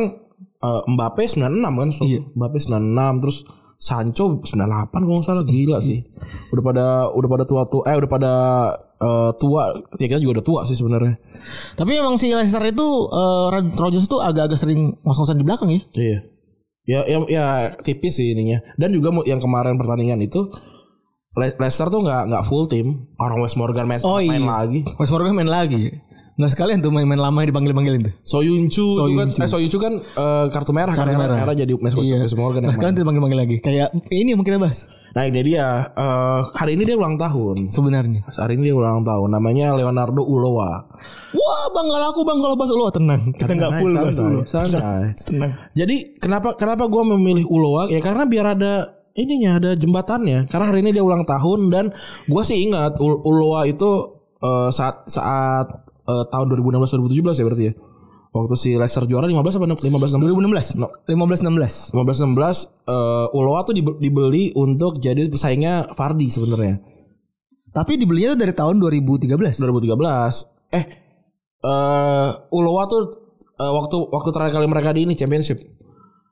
[SPEAKER 2] eh, Mbappe 96 kan so,
[SPEAKER 3] Iya.
[SPEAKER 2] Mbappe 96 terus Sancho 98 kalau nggak
[SPEAKER 3] Iya.
[SPEAKER 2] salah gila sih udah pada udah pada tua tua eh udah pada eh, tua ya kita juga udah tua sih sebenarnya
[SPEAKER 3] tapi emang si Leicester itu eh, Rod- Rodgers tuh agak-agak sering ngos-ngosan di belakang ya
[SPEAKER 2] iya Ya, ya, ya tipis sih ininya. Dan juga mu- yang kemarin pertandingan itu Le- Leicester tuh nggak nggak full tim. Orang Wes Morgan main,
[SPEAKER 3] Oh,
[SPEAKER 2] main
[SPEAKER 3] iya.
[SPEAKER 2] lagi.
[SPEAKER 3] West Morgan main lagi. Nggak sekalian tuh main-main lama dipanggil-panggilin tuh.
[SPEAKER 2] Soyuncu itu kan,
[SPEAKER 3] Soyuncu.
[SPEAKER 2] eh, Soyuncu kan eh, kartu merah,
[SPEAKER 3] Kartu merah.
[SPEAKER 2] jadi Wes Wes Morgan.
[SPEAKER 3] Iya. Nggak
[SPEAKER 2] yang main.
[SPEAKER 3] sekalian tuh dipanggil-panggil lagi. Kayak ini ya, yang kita bahas
[SPEAKER 2] Nah ini dia eh, hari ini dia ulang tahun.
[SPEAKER 3] sebenarnya.
[SPEAKER 2] Hari ini dia ulang tahun. Namanya Leonardo Uloa.
[SPEAKER 3] Wah bang nggak laku bang kalau bahas lu tenang. Kita nggak full bahas
[SPEAKER 2] santai,
[SPEAKER 3] lu.
[SPEAKER 2] santai.
[SPEAKER 3] Tenang.
[SPEAKER 2] Jadi kenapa kenapa gue memilih Uloa ya karena biar ada ininya ada jembatannya karena hari ini dia ulang tahun dan gue sih ingat Ul- Uloa itu eh, saat saat eh, tahun 2016 2017 ya berarti ya waktu si Leicester juara 15 apa 15 16
[SPEAKER 3] 2016. 15 16.
[SPEAKER 2] 15 16 eh, Uloa tuh dibe- dibeli untuk jadi pesaingnya Fardi sebenarnya
[SPEAKER 3] Tapi dibelinya tuh dari tahun 2013.
[SPEAKER 2] 2013 eh eh Uloa tuh eh, waktu waktu terakhir kali mereka di ini championship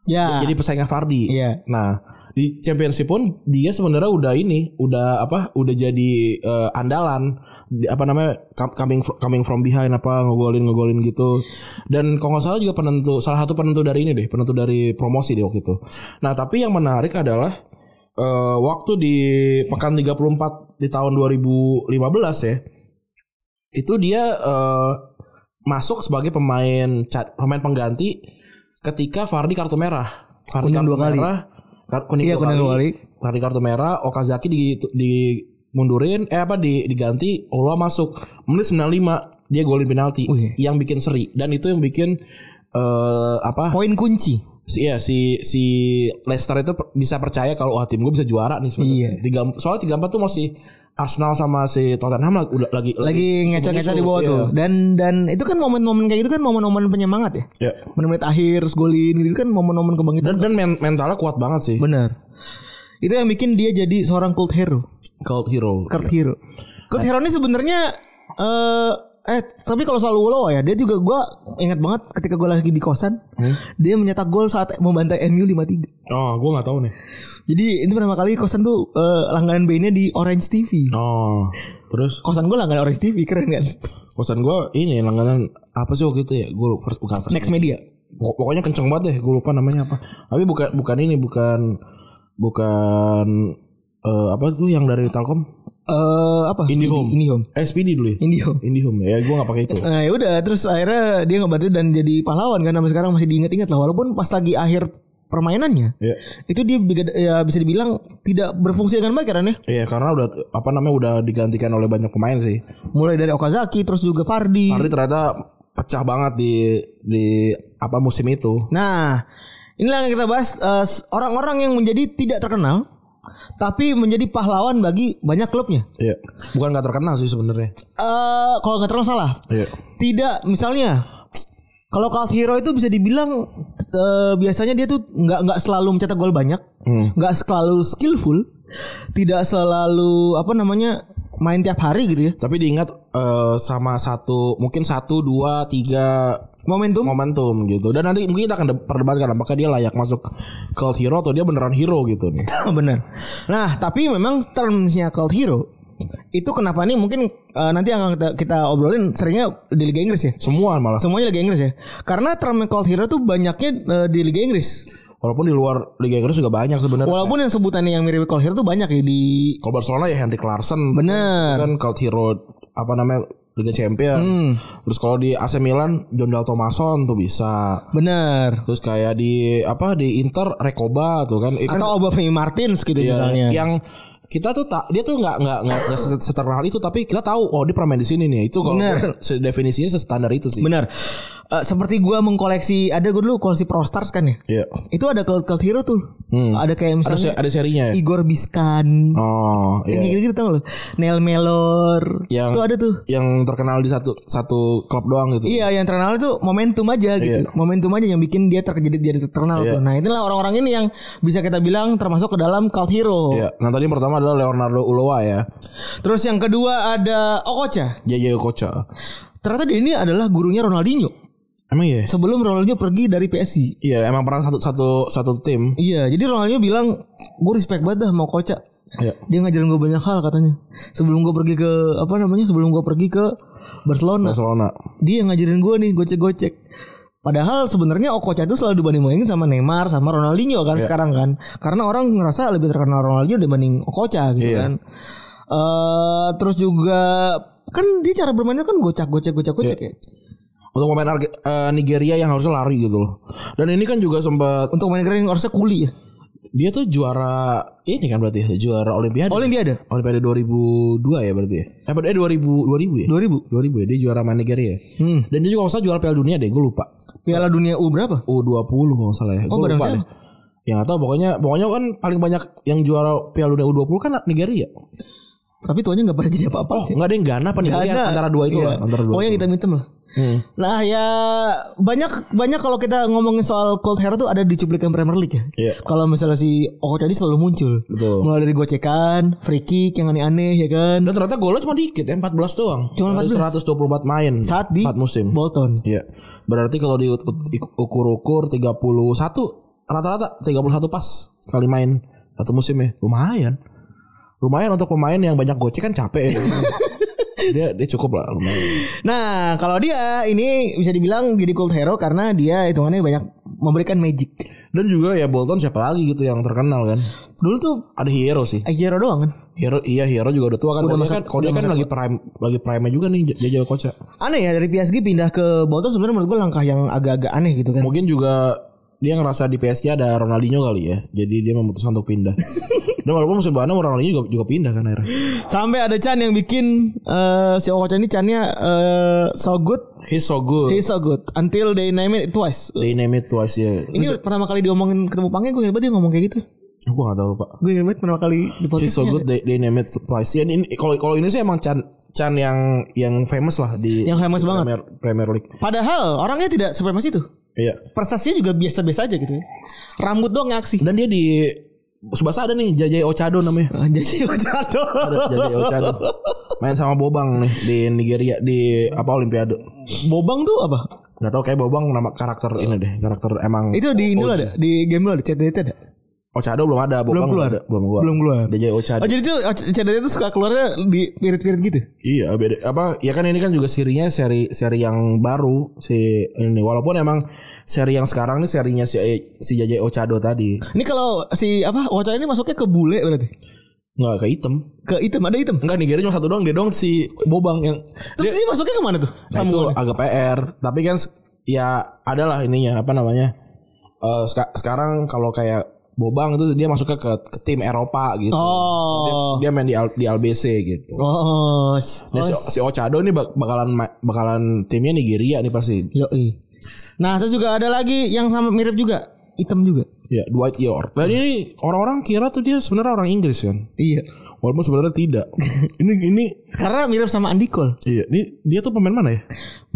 [SPEAKER 3] Ya.
[SPEAKER 2] jadi pesaingnya Fardi.
[SPEAKER 3] Iya.
[SPEAKER 2] Nah, di championship pun dia sebenarnya udah ini, udah apa? Udah jadi eh, andalan Di- apa namanya? com- coming fr- coming from behind apa ngegolin-ngegolin gitu. Dan kalau nggak salah juga penentu salah satu penentu dari ini deh, penentu dari promosi deh waktu itu. Nah, tapi yang menarik adalah eh, waktu di pekan 34 di tahun 2015 ya. Itu dia eh, masuk sebagai pemain ca- pemain pengganti ketika Fardi kartu merah. Fardi
[SPEAKER 3] Kuning
[SPEAKER 2] kartu
[SPEAKER 3] dua kali.
[SPEAKER 2] merah, kar- kuning
[SPEAKER 3] Iya,
[SPEAKER 2] dua
[SPEAKER 3] kuning
[SPEAKER 2] kali.
[SPEAKER 3] dua kali.
[SPEAKER 2] Fardi kartu merah, Okazaki di di mundurin eh apa di diganti Oloa masuk menit 95 dia golin penalti
[SPEAKER 3] Wih.
[SPEAKER 2] yang bikin seri dan itu yang bikin eh apa
[SPEAKER 3] Poin kunci.
[SPEAKER 2] si ya si si Leicester itu per- bisa percaya kalau wah tim gue bisa juara nih sebenarnya.
[SPEAKER 3] Iya.
[SPEAKER 2] Tiga, soalnya tiga empat tuh masih Arsenal sama si Tottenham lagi lagi
[SPEAKER 3] lagi ngecat-ngecat di
[SPEAKER 2] iya.
[SPEAKER 3] bawah tuh. Dan dan itu kan momen-momen kayak gitu kan momen-momen penyemangat ya.
[SPEAKER 2] Iya.
[SPEAKER 3] Menit-menit akhir terus golin gitu kan momen-momen
[SPEAKER 2] Dan
[SPEAKER 3] kebangkitan.
[SPEAKER 2] dan men- mentalnya kuat banget sih.
[SPEAKER 3] Bener. Itu yang bikin dia jadi seorang cult hero.
[SPEAKER 2] Cult hero.
[SPEAKER 3] Cult hero. Cult hero Iya. ini sebenarnya eh eh tapi kalau soal Ulo ya dia juga gua ingat banget ketika gua lagi di kosan dia mencetak gol saat membantai MU 5-3.
[SPEAKER 2] Oh, gue nggak tahu nih.
[SPEAKER 3] Jadi itu pertama kali kosan tuh eh, langganan B-nya di Orange TV.
[SPEAKER 2] Oh, terus
[SPEAKER 3] Kosan gua langganan Orange TV keren kan.
[SPEAKER 2] kosan gue ini langganan apa sih waktu itu ya? Gue lupa bukan first.
[SPEAKER 3] Next Media.
[SPEAKER 2] Pokok- Pokoknya kenceng banget deh, gue lupa namanya apa. Tapi bukan bukan ini bukan bukan eh, apa tuh yang dari Telkom?
[SPEAKER 3] Eh apa?
[SPEAKER 2] Indihome.
[SPEAKER 3] Indihome.
[SPEAKER 2] Eh, SPD dulu ya.
[SPEAKER 3] Indihome.
[SPEAKER 2] Indihome ya, gue nggak pakai itu.
[SPEAKER 3] Nah ya udah terus akhirnya dia ngebantu dan jadi pahlawan kan sampai sekarang masih diingat-ingat lah walaupun pas lagi akhir permainannya
[SPEAKER 2] Iya.
[SPEAKER 3] itu dia biga- ya bisa dibilang tidak berfungsi dengan baik kan, ya? karena
[SPEAKER 2] Iya karena udah apa namanya udah digantikan oleh banyak pemain sih.
[SPEAKER 3] mulai dari Okazaki terus juga Fardi.
[SPEAKER 2] Fardi ternyata pecah banget di di apa musim itu.
[SPEAKER 3] Nah, inilah yang kita bahas eh, s- orang-orang yang menjadi tidak terkenal tapi menjadi pahlawan bagi banyak klubnya.
[SPEAKER 2] Iya. Bukan nggak terkenal sih sebenarnya.
[SPEAKER 3] Eh kalau nggak terkenal salah.
[SPEAKER 2] Iya.
[SPEAKER 3] Tidak misalnya kalau cult hero itu bisa dibilang eh, biasanya dia tuh nggak nggak selalu mencetak gol banyak, nggak selalu skillful, tidak selalu apa namanya main tiap hari gitu ya.
[SPEAKER 2] Tapi diingat eh, sama satu mungkin satu dua tiga
[SPEAKER 3] Momentum
[SPEAKER 2] momentum gitu. Dan nanti mungkin kita akan de- perdebatkan apakah dia layak masuk cult hero atau dia beneran hero gitu nih.
[SPEAKER 3] Bener. Nah, tapi memang termsnya cult hero itu kenapa nih mungkin eh, nanti akan kita, kita obrolin seringnya di Liga Inggris ya.
[SPEAKER 2] Semua malah.
[SPEAKER 3] Semuanya Liga Inggris ya. Karena term cult hero tuh banyaknya eh, di Liga Inggris.
[SPEAKER 2] Walaupun di luar Liga Inggris juga banyak sebenarnya.
[SPEAKER 3] Walaupun yang sebutannya yang mirip cult hero tuh banyak ya di
[SPEAKER 2] Kalau Barcelona ya Henry Clarkson.
[SPEAKER 3] Bener. Hmm.
[SPEAKER 2] kan cult hero apa namanya Liga Champion. Terus kalau di AC Milan John Dal Tomason tuh bisa.
[SPEAKER 3] Bener.
[SPEAKER 2] Terus kayak di apa di Inter Recoba tuh kan. Eh, kan
[SPEAKER 3] Atau Obafemi Martins gitu
[SPEAKER 2] ya,
[SPEAKER 3] misalnya.
[SPEAKER 2] yang kita tuh tak dia tuh nggak nggak nggak nggak se- seterkenal itu tapi kita tahu oh dia pernah main di sini nih itu kalau
[SPEAKER 3] Bener.
[SPEAKER 2] gue se- definisinya standar itu sih.
[SPEAKER 3] Bener. Eh, seperti gua mengkoleksi ada gua dulu koleksi Pro Stars kan ya.
[SPEAKER 2] Iya.
[SPEAKER 3] Itu ada cult, cult hero tuh. Ada kayak
[SPEAKER 2] Hmm. Ada se-
[SPEAKER 3] misalnya
[SPEAKER 2] ada serinya ya.
[SPEAKER 3] Igor Biskan.
[SPEAKER 2] Oh,
[SPEAKER 3] Yang
[SPEAKER 2] iya.
[SPEAKER 3] gitu-gitu tau lo Nel Melor
[SPEAKER 2] Yang-
[SPEAKER 3] Tuh ada tuh
[SPEAKER 2] Yang terkenal di satu satu klub doang gitu.
[SPEAKER 3] Iya yang terkenal itu momentum aja gitu
[SPEAKER 2] Iya.
[SPEAKER 3] Momentum aja yang bikin dia terjadi jadi terkenal
[SPEAKER 2] Iya.
[SPEAKER 3] tuh Nah itulah orang-orang ini yang bisa kita bilang termasuk ke dalam cult hero
[SPEAKER 2] Iya. Nah tadi yang pertama adalah Leonardo Uloa ya.
[SPEAKER 3] Terus yang kedua ada Okocha
[SPEAKER 2] JJ Okocha.
[SPEAKER 3] Ternyata dia ini adalah gurunya Ronaldinho
[SPEAKER 2] Emang iya?
[SPEAKER 3] Sebelum Ronaldinho pergi dari PSG
[SPEAKER 2] Iya emang pernah satu satu satu tim.
[SPEAKER 3] Iya jadi Ronaldinho bilang Gue respect banget dah mau Okocha
[SPEAKER 2] Iya.
[SPEAKER 3] Dia ngajarin gue banyak hal katanya Sebelum gue pergi ke Apa namanya Sebelum gue pergi ke Barcelona
[SPEAKER 2] Barcelona.
[SPEAKER 3] dia yang ngajarin gue nih gocek-gocek Padahal sebenarnya Okocha itu selalu dibanding-bandingin sama Neymar sama Ronaldinho kan
[SPEAKER 2] Iya.
[SPEAKER 3] sekarang kan. Karena orang ngerasa lebih terkenal Ronaldinho dibanding Okocha gitu
[SPEAKER 2] Iya.
[SPEAKER 3] kan. Eh terus juga kan dia cara bermainnya kan gocak gocak gocak gocak
[SPEAKER 2] Iya.
[SPEAKER 3] ya.
[SPEAKER 2] Untuk pemain Arge- eh, Nigeria yang harusnya lari gitu loh. Dan ini kan juga sempat
[SPEAKER 3] Untuk main keren harusnya kuli ya.
[SPEAKER 2] dia tuh juara ini kan berarti ya, juara Olimpiade.
[SPEAKER 3] Olimpiade
[SPEAKER 2] Olimpiade 2002 ya berarti ya. Eh pada- eh 2000 2000 ya.
[SPEAKER 3] 2000.
[SPEAKER 2] 2000 ya dia juara sama Nigeria.
[SPEAKER 3] Hmm.
[SPEAKER 2] Dan dia juga nggak salah juara Piala Dunia deh, gue lupa.
[SPEAKER 3] Piala Dunia U berapa?
[SPEAKER 2] U20 kalau nggak salah ya.
[SPEAKER 3] Oh,
[SPEAKER 2] Gue
[SPEAKER 3] bareng
[SPEAKER 2] lupa
[SPEAKER 3] siapa?
[SPEAKER 2] deh. Ya nggak tahu pokoknya pokoknya kan paling banyak yang juara Piala Dunia U20 kan Nigeria.
[SPEAKER 3] Tapi tuanya nggak pernah jadi apa-apa.
[SPEAKER 2] Oh, nggak ada yang Ghana apa Nigeria
[SPEAKER 3] Ghana.
[SPEAKER 2] antara dua itu
[SPEAKER 3] Iya.
[SPEAKER 2] lah, antara dua.
[SPEAKER 3] Pokoknya
[SPEAKER 2] itu.
[SPEAKER 3] kita hitam lah.
[SPEAKER 2] Hmm.
[SPEAKER 3] Nah ya banyak banyak kalau kita ngomongin soal cold hair tuh ada di cuplikan Premier League ya.
[SPEAKER 2] Iya.
[SPEAKER 3] Kalau misalnya si Oko tadi selalu muncul.
[SPEAKER 2] Betul.
[SPEAKER 3] Mulai dari gocekan, free kick yang aneh-aneh ya kan.
[SPEAKER 2] Dan ternyata golnya cuma dikit ya 14 doang.
[SPEAKER 3] Cuma
[SPEAKER 2] Dari 124 main.
[SPEAKER 3] Saat di
[SPEAKER 2] 4 musim.
[SPEAKER 3] Bolton.
[SPEAKER 2] Iya. Berarti kalau diukur-ukur 31 rata-rata 31 pas kali main satu musim ya. Lumayan. Lumayan untuk pemain yang banyak gocek kan capek ya. dia dia cukup lah lumayan.
[SPEAKER 3] Nah kalau dia ini bisa dibilang jadi cold hero karena dia hitungannya banyak memberikan magic.
[SPEAKER 2] Dan juga ya Bolton siapa lagi gitu yang terkenal kan.
[SPEAKER 3] Dulu tuh
[SPEAKER 2] Ada Hero sih.
[SPEAKER 3] Aguero doang kan.
[SPEAKER 2] Hero iya Hero juga udah tua kan. Kalau
[SPEAKER 3] Udah
[SPEAKER 2] dia
[SPEAKER 3] masuk-
[SPEAKER 2] kan, kalau dia kan lagi prime lagi prime juga nih J- Jaja Koca.
[SPEAKER 3] Aneh ya dari PSG pindah ke Bolton sebenarnya menurut gue langkah yang agak-agak aneh gitu kan.
[SPEAKER 2] Mungkin juga dia ngerasa di PSG ada Ronaldinho kali ya. Jadi dia memutuskan untuk pindah. Dan walaupun musim depannya Ronaldinho juga, juga pindah kan akhirnya.
[SPEAKER 3] Sampai ada Chan yang bikin eh, si Oko Chan ini Channya eh, so good
[SPEAKER 2] He's so good.
[SPEAKER 3] He's so good until they name it twice.
[SPEAKER 2] They name it twice ya.
[SPEAKER 3] Ini pertama kali diomongin ketemu Pange gue ingat banget dia ngomong kayak gitu.
[SPEAKER 2] Gue gak tau pak.
[SPEAKER 3] Gue ingat banget pertama kali di
[SPEAKER 2] He's
[SPEAKER 3] podcast.
[SPEAKER 2] so good. They, they name it twice. Ya, ini kalau kalau ini sih emang Chan Chan yang yang famous lah di
[SPEAKER 3] Yang famous
[SPEAKER 2] di
[SPEAKER 3] banget.
[SPEAKER 2] Premier, Premier League.
[SPEAKER 3] Padahal orangnya tidak sefamis itu.
[SPEAKER 2] Iya.
[SPEAKER 3] Prestasinya juga biasa-biasa aja gitu ya. Rambut doang ngaksi.
[SPEAKER 2] Dan dia di Subasa ada nih Jajai Ochado namanya.
[SPEAKER 3] Jadi Ojado.
[SPEAKER 2] Jajai Ochado. Main sama Bobang nih di Nigeria di apa Olimpiade.
[SPEAKER 3] Bobang tuh apa?
[SPEAKER 2] Gak tau kayak Bobang nama karakter ini deh. Karakter emang
[SPEAKER 3] Itu di ini lu ada, di game lu ada, CDT ada.
[SPEAKER 2] Ochado belum ada, Bobang
[SPEAKER 3] Belum keluar.
[SPEAKER 2] ada, belum keluar.
[SPEAKER 3] Belum keluar.
[SPEAKER 2] Jajai Ochado.
[SPEAKER 3] Oh jadi tuh CDT tuh suka keluarnya di pirit-pirit gitu.
[SPEAKER 2] Iya beda apa ya kan ini kan juga serinya seri seri yang baru si ini walaupun emang seri yang sekarang nih serinya si si Jajai Ochado tadi
[SPEAKER 3] Ini kalau si apa Ojado ini masuknya ke bule berarti.
[SPEAKER 2] nggak ke hitam
[SPEAKER 3] Ke item ada item.
[SPEAKER 2] nggak Nigeria cuma satu doang dia doang si Bobang yang
[SPEAKER 3] Terus ini masuknya kemana tuh?
[SPEAKER 2] Nah, itu agak PR tapi kan se- ya adalah ininya apa namanya Eh, seka- sekarang kalau kayak Bobang itu dia masuknya ke, ke tim Eropa gitu
[SPEAKER 3] Oh.
[SPEAKER 2] dia main di Al- di LBC gitu
[SPEAKER 3] Oh.
[SPEAKER 2] Nah, si, si Ochado nih bak- bakalan ma- bakalan timnya Nigeria nih pasti
[SPEAKER 3] Oh, Yoi. Nah terus juga ada lagi yang sama mirip juga, hitam juga.
[SPEAKER 2] Ya, Dwight York. Dan ini orang-orang kira tuh dia sebenarnya orang Inggris kan.
[SPEAKER 3] Iya.
[SPEAKER 2] Walaupun sebenarnya tidak. ini ini
[SPEAKER 3] Karena mirip sama Andy Cole.
[SPEAKER 2] iya, ini dia tuh pemain mana ya?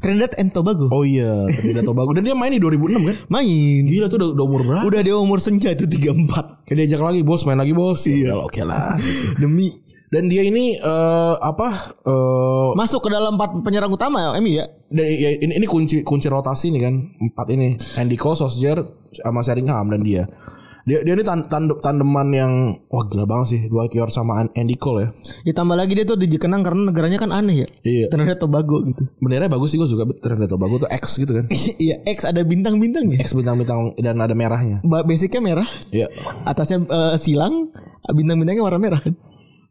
[SPEAKER 3] Trinidad and Tobago.
[SPEAKER 2] Oh iya, Trinidad Tobago. Dan dia main di 2006 kan?
[SPEAKER 3] Main.
[SPEAKER 2] Gila tuh udah, udah umur berapa?
[SPEAKER 3] Udah dia umur senja itu 34.
[SPEAKER 2] Kayak diajak lagi bos, main lagi bos. Iya, oke lah.
[SPEAKER 3] Demi
[SPEAKER 2] Dan dia ini eh, apa? eh
[SPEAKER 3] masuk ke dalam empat penyerang utama Emi ya.
[SPEAKER 2] dan ya, ini, ini kunci kunci rotasi nih kan empat ini Andy Cole, Sosjer, sama Sheringham dan dia. Dia dia ini tan- tandem- tandeman yang wah gila banget sih Dwight York sama An- Andy Cole ya.
[SPEAKER 3] Ditambah lagi dia tuh dikenang karena negaranya kan aneh ya.
[SPEAKER 2] Iya.
[SPEAKER 3] Trinidad Tobago gitu.
[SPEAKER 2] Benernya bagus sih gue suka Trinidad Tobago tuh X gitu kan.
[SPEAKER 3] iya, X ada bintang-bintangnya.
[SPEAKER 2] X bintang-bintang dan ada merahnya.
[SPEAKER 3] Ba- Basicnya merah,
[SPEAKER 2] Iya.
[SPEAKER 3] atasnya eh, silang, bintang-bintangnya warna merah kan.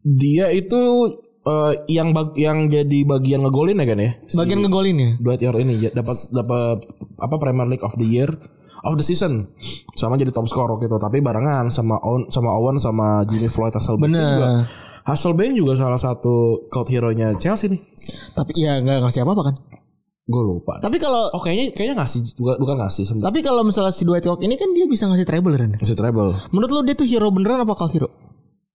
[SPEAKER 2] Dia itu eh, yang bag- yang jadi bagian ngegolin ya kan ya. Si
[SPEAKER 3] Bagian ngegolinnya.
[SPEAKER 2] Dwight York ini ya, dapat dapat apa Premier League of the Year of the season sama jadi top scorer gitu tapi barengan sama Owen sama Owen sama Jimmy Floyd Hasselbank
[SPEAKER 3] Bener.
[SPEAKER 2] juga. Hasselbank juga salah satu cult hero-nya Chelsea nih.
[SPEAKER 3] Tapi ya nggak ngasih apa-apa kan.
[SPEAKER 2] Gue lupa.
[SPEAKER 3] Tapi kalau
[SPEAKER 2] Oh kayaknya kayaknya ngasih bukan bukan ngasih sebentar.
[SPEAKER 3] tapi kalau misalnya si Dwight York ini kan dia bisa ngasih treble kan.
[SPEAKER 2] Ngasih treble.
[SPEAKER 3] Menurut lu dia tuh hero beneran apa cult hero?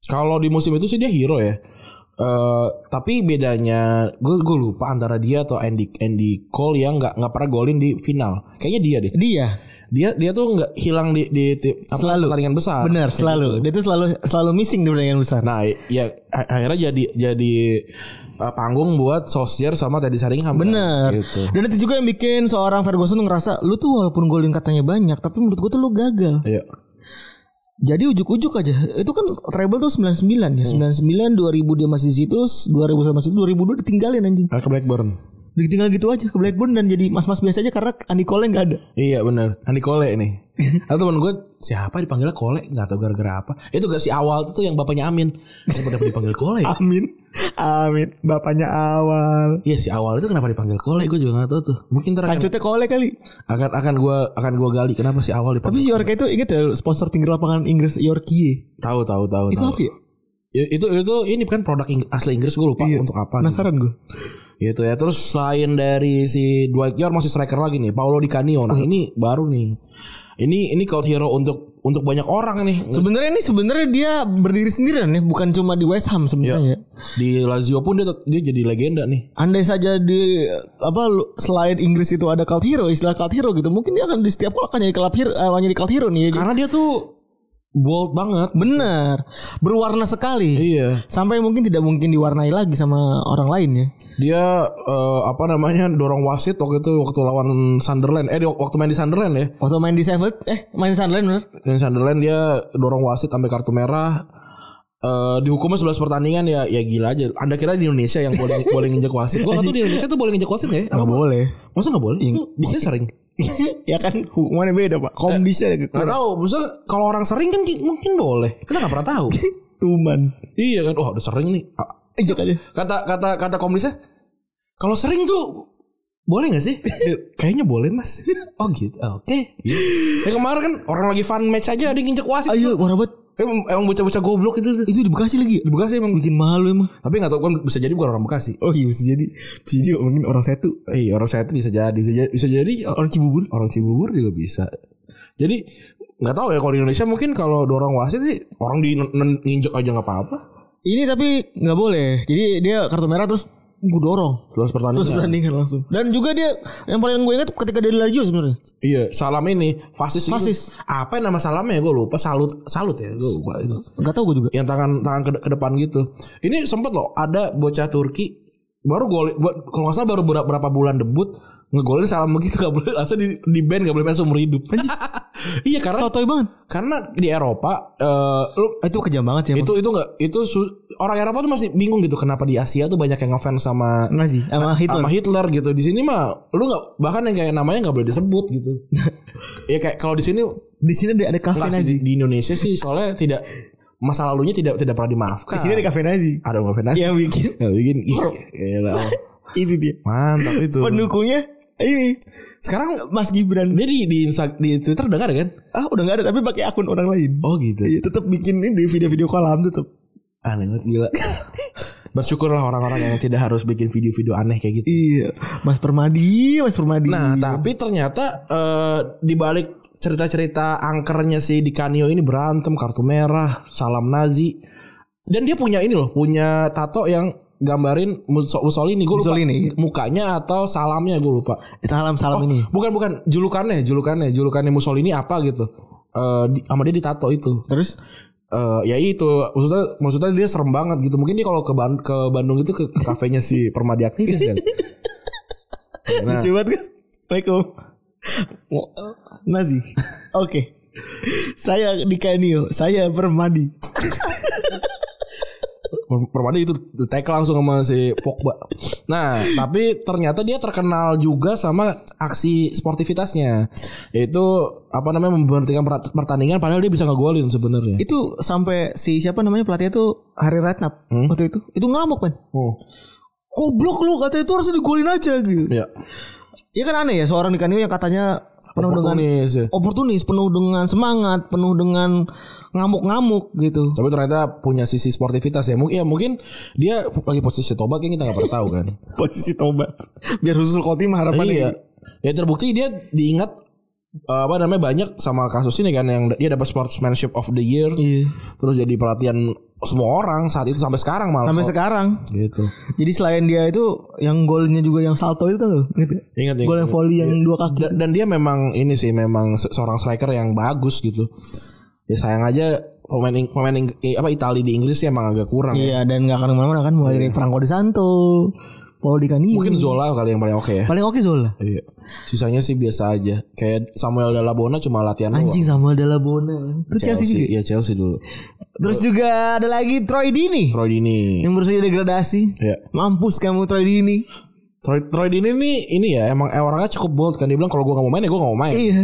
[SPEAKER 2] Kalau di musim itu sih dia hero ya. Eh tapi bedanya gue gue lupa antara dia atau Andy Andy Cole yang nggak nggak pernah golin di final. Kayaknya dia deh.
[SPEAKER 3] Dia.
[SPEAKER 2] Dia dia tuh nggak hilang di di, di apa,
[SPEAKER 3] Selalu.
[SPEAKER 2] pertandingan besar.
[SPEAKER 3] Benar, selalu. Dia tuh selalu selalu missing di pertandingan besar.
[SPEAKER 2] Nah, ya a- akhirnya jadi jadi eh, panggung buat Sosjer sama Teddy Sheringham.
[SPEAKER 3] Bener.
[SPEAKER 2] Gitu.
[SPEAKER 3] Dan itu juga yang bikin seorang Ferguson tuh ngerasa lu tuh walaupun golin katanya banyak, tapi menurut gua tuh lu gagal.
[SPEAKER 2] Iya.
[SPEAKER 3] Jadi ujuk-ujuk aja. Itu kan treble tuh 99 ya. 99 2000 dia masih di situ, 2000 sama situ, 2002 ditinggalin anjing.
[SPEAKER 2] Nah, ke Blackburn.
[SPEAKER 3] Ditinggal gitu aja ke Blackburn dan jadi mas-mas biasa aja karena Andi Cole nggak ada.
[SPEAKER 2] Iya benar. Andi Kole nih. Atau teman gue siapa dipanggilnya Kole nggak tahu gara-gara apa. Itu gak si awal itu yang bapaknya Amin. Kenapa dapat dipanggil Kole? ya?
[SPEAKER 3] Amin. Amin. Bapaknya awal.
[SPEAKER 2] Iya si awal itu kenapa dipanggil Kole? Gue juga nggak tahu tuh. Mungkin ntar akan,
[SPEAKER 3] Kancutnya Cole kali.
[SPEAKER 2] akan akan gue akan gue gali kenapa si awal
[SPEAKER 3] Tapi
[SPEAKER 2] dipanggil.
[SPEAKER 3] si Yorka itu inget ya sponsor pinggir lapangan Inggris Yorkie.
[SPEAKER 2] Tahu tahu tahu.
[SPEAKER 3] Itu
[SPEAKER 2] tahu.
[SPEAKER 3] apa ya?
[SPEAKER 2] I- Itu itu ini kan produk Ing- asli Inggris gue lupa untuk apa.
[SPEAKER 3] Iya. Penasaran gue.
[SPEAKER 2] Gitu ya. Terus selain dari si Dwight York masih striker lagi nih, Paolo Di Canio.
[SPEAKER 3] Iya.
[SPEAKER 2] Nah, ini baru nih. Ini ini cult hero untuk untuk banyak orang nih.
[SPEAKER 3] Sebenarnya ini sebenarnya dia berdiri sendirian nih, bukan cuma di West Ham
[SPEAKER 2] Iya.
[SPEAKER 3] sebenarnya.
[SPEAKER 2] Di Lazio pun dia dia jadi legenda nih.
[SPEAKER 3] Andai saja di apa lu- selain Inggris itu ada cult hero, istilah cult hero gitu, mungkin dia akan di setiap klub akan jadi club hero, eh, jadi cult hero nih.
[SPEAKER 2] Karena dia tuh bold banget.
[SPEAKER 3] Bener, berwarna sekali.
[SPEAKER 2] Iya.
[SPEAKER 3] Sampai mungkin tidak mungkin diwarnai lagi sama orang lain ya.
[SPEAKER 2] Dia eh, apa namanya dorong wasit waktu itu waktu lawan Sunderland. Eh di- waktu main di Sunderland ya.
[SPEAKER 3] Waktu main di Sheffield, eh main di Sunderland bener.
[SPEAKER 2] Dan Sunderland dia dorong wasit sampai kartu merah. Eh dihukumnya 11 pertandingan ya ya gila aja. Anda kira di Indonesia yang boleh boleh nginjek wasit? Gua nggak tahu di Indonesia tuh boleh nginjek wasit nggak ya? Apa-
[SPEAKER 3] boleh.
[SPEAKER 2] Masa nggak boleh? Itu Biasanya sering.
[SPEAKER 3] ya kan hukumannya beda pak. Komdisnya gitu.
[SPEAKER 2] Nggak tahu. Maksudnya kalau orang sering kan ki- mungkin boleh. Kita nggak pernah tahu.
[SPEAKER 3] Tuman.
[SPEAKER 2] iya kan. Wah udah sering nih. Ah,
[SPEAKER 3] Ijek aja.
[SPEAKER 2] Kata kata kata komdisnya. Kalau sering tuh boleh nggak sih? Eh, Kayaknya boleh mas. Oh gitu. Oh, Oke. Ya kemarin kan orang lagi fun match aja ada yang nginjek wasit.
[SPEAKER 3] Ayo, warabat
[SPEAKER 2] Emang, emang bocah-bocah goblok itu.
[SPEAKER 3] itu di Bekasi lagi.
[SPEAKER 2] Di Bekasi emang
[SPEAKER 3] Bikin malu emang.
[SPEAKER 2] Tapi gak tau kan bisa jadi bukan orang Bekasi.
[SPEAKER 3] Oh iya bisa jadi bisa jadi mungkin orang satu
[SPEAKER 2] Eh orang saya itu bisa jadi bisa jadi, bisa jadi oh,
[SPEAKER 3] orang Cibubur.
[SPEAKER 2] orang Cibubur juga bisa. Jadi nggak tahu ya kalau di Indonesia mungkin kalau dorong wasit sih orang di nen- nginjek aja nggak apa-apa.
[SPEAKER 3] Ini tapi nggak boleh. Jadi dia kartu merah terus gue dorong.
[SPEAKER 2] Terus
[SPEAKER 3] Terus
[SPEAKER 2] pertandingan.
[SPEAKER 3] pertandingan langsung. Dan juga dia yang paling gue ingat ketika dia di Lazio sebenarnya.
[SPEAKER 2] Iya, salam ini fasis. itu.
[SPEAKER 3] Fasis.
[SPEAKER 2] Apa nama salamnya gue lupa. Salut salut ya gue lupa itu.
[SPEAKER 3] Enggak tahu gue juga.
[SPEAKER 2] Yang tangan tangan ke, ke depan gitu. Ini sempet loh ada bocah Turki baru gol buat- kalau nggak salah baru berapa, berapa bulan debut ngegolin salam begitu gak boleh langsung di, di band gak boleh main seumur hidup iya karena
[SPEAKER 3] Sotoy banget.
[SPEAKER 2] karena di Eropa eh, lu
[SPEAKER 3] Eh, Itu kejam banget sih emang.
[SPEAKER 2] itu itu nggak itu su- orang Eropa tuh masih bingung gitu kenapa di Asia tuh banyak yang ngefans sama
[SPEAKER 3] Nazi sama Hitler.
[SPEAKER 2] sama Hitler gitu di sini mah lu nggak bahkan yang kayak namanya nggak boleh disebut gitu ya kayak kalau di sini
[SPEAKER 3] Di sini ada, ada kafe
[SPEAKER 2] nggak sih,
[SPEAKER 3] Nazi.
[SPEAKER 2] di, di Indonesia sih soalnya tidak masa lalunya tidak tidak pernah dimaafkan
[SPEAKER 3] Di sini ada kafe Nazi.
[SPEAKER 2] ada apa fans
[SPEAKER 3] Yang bikin
[SPEAKER 2] ya bikin ih, gila.
[SPEAKER 3] ini dia.
[SPEAKER 2] mantap itu
[SPEAKER 3] Pendukungnya ini
[SPEAKER 2] sekarang
[SPEAKER 3] Mas Gibran.
[SPEAKER 2] dia di di, Insta- di Twitter udah nggak ada kan
[SPEAKER 3] Ah udah nggak ada tapi pakai akun orang lain.
[SPEAKER 2] oh gitu
[SPEAKER 3] Iya tetap bikin ini di video-video kolam tetap.
[SPEAKER 2] aneh banget gila bersyukurlah orang-orang yang tidak harus bikin video-video aneh kayak gitu
[SPEAKER 3] Iya. Mas Permadi, Mas Permadi.
[SPEAKER 2] Nah, tapi ternyata eh, di balik cerita-cerita angkernya si Di Canio ini berantem kartu merah, salam Nazi. Dan dia punya ini loh, punya tato yang gambarin Musso- Mussolini gue lupa
[SPEAKER 3] Mussolini.
[SPEAKER 2] mukanya atau salamnya gue lupa.
[SPEAKER 3] salam salam ini.
[SPEAKER 2] Bukan bukan julukannya, julukannya, julukannya Mussolini apa gitu. Eh di, sama dia ditato itu.
[SPEAKER 3] Terus
[SPEAKER 2] Eh ya itu maksudnya maksudnya dia serem banget gitu. Mungkin dia kalau ke Ban- ke Bandung itu ke, ke kafenya si Permadi aktivis kan. Nah.
[SPEAKER 3] Lucu banget kan? Assalamualaikum. Wo- Nazi. Oke. Saya di Kanio, saya Permadi.
[SPEAKER 2] Per- Permadi itu tackle langsung sama si Pogba. Nah, tapi ternyata dia terkenal juga sama aksi sportivitasnya. Yaitu apa namanya memberhentikan per- pertandingan padahal dia bisa ngegolin sebenarnya.
[SPEAKER 3] Itu sampai si siapa namanya pelatihnya tuh Hari Ratnap waktu itu. Itu ngamuk, Man.
[SPEAKER 2] Oh.
[SPEAKER 3] Goblok lu kata itu harus digolin aja gitu.
[SPEAKER 2] Ya.
[SPEAKER 3] Ya kan aneh ya seorang di Kanio yang katanya penuh dengan
[SPEAKER 2] Oportunis ya.
[SPEAKER 3] oportunis, penuh dengan semangat, penuh dengan ngamuk-ngamuk gitu.
[SPEAKER 2] Tapi ternyata punya sisi sportivitas ya. Mungkin ya mungkin dia lagi posisi tobat yang kita nggak pernah tahu kan.
[SPEAKER 3] Posisi tobat. Biar Husul Khotimah harapannya.
[SPEAKER 2] iya.
[SPEAKER 3] gitu.
[SPEAKER 2] Ya terbukti dia diingat eh, apa namanya banyak sama kasus ini kan yang dia dapat sportsmanship of the year.
[SPEAKER 3] Iya.
[SPEAKER 2] Terus jadi perhatian semua orang saat itu sampai sekarang malah.
[SPEAKER 3] Sampai sekarang.
[SPEAKER 2] gitu.
[SPEAKER 3] Jadi selain dia itu yang golnya juga yang salto itu tuh. Gitu.
[SPEAKER 2] Ingat ya.
[SPEAKER 3] Gol yang volley yang dua kaki.
[SPEAKER 2] Dan, dan dia memang ini sih memang se- seorang striker yang bagus gitu. Ya sayang aja pemain Ing- pemain Ing- eh, apa Italia di Inggris sih emang agak kurang.
[SPEAKER 3] Iya dan gak akan kemana-mana kan mulai dari Franco De Santo, Paulo Di
[SPEAKER 2] Iya.
[SPEAKER 3] Canio.
[SPEAKER 2] Mungkin Zola kali yang paling oke ya.
[SPEAKER 3] paling oke Zola.
[SPEAKER 2] Iya. Sisanya sih biasa aja. Kayak Samuel Dalabona cuma latihan doang.
[SPEAKER 3] Anjing sama Della Bona. Itu Chelsea, juga.
[SPEAKER 2] Iya Chelsea dulu.
[SPEAKER 3] Terus juga ada lagi Troy Dini
[SPEAKER 2] Troy Dini.
[SPEAKER 3] yang baru saja degradasi.
[SPEAKER 2] Iya.
[SPEAKER 3] Mampus kamu Troy Dini.
[SPEAKER 2] Troy Troy Dini ini ini ya emang orangnya cukup bold kan dia bilang kalau gua nggak mau main ya gua nggak mau main.
[SPEAKER 3] Iya.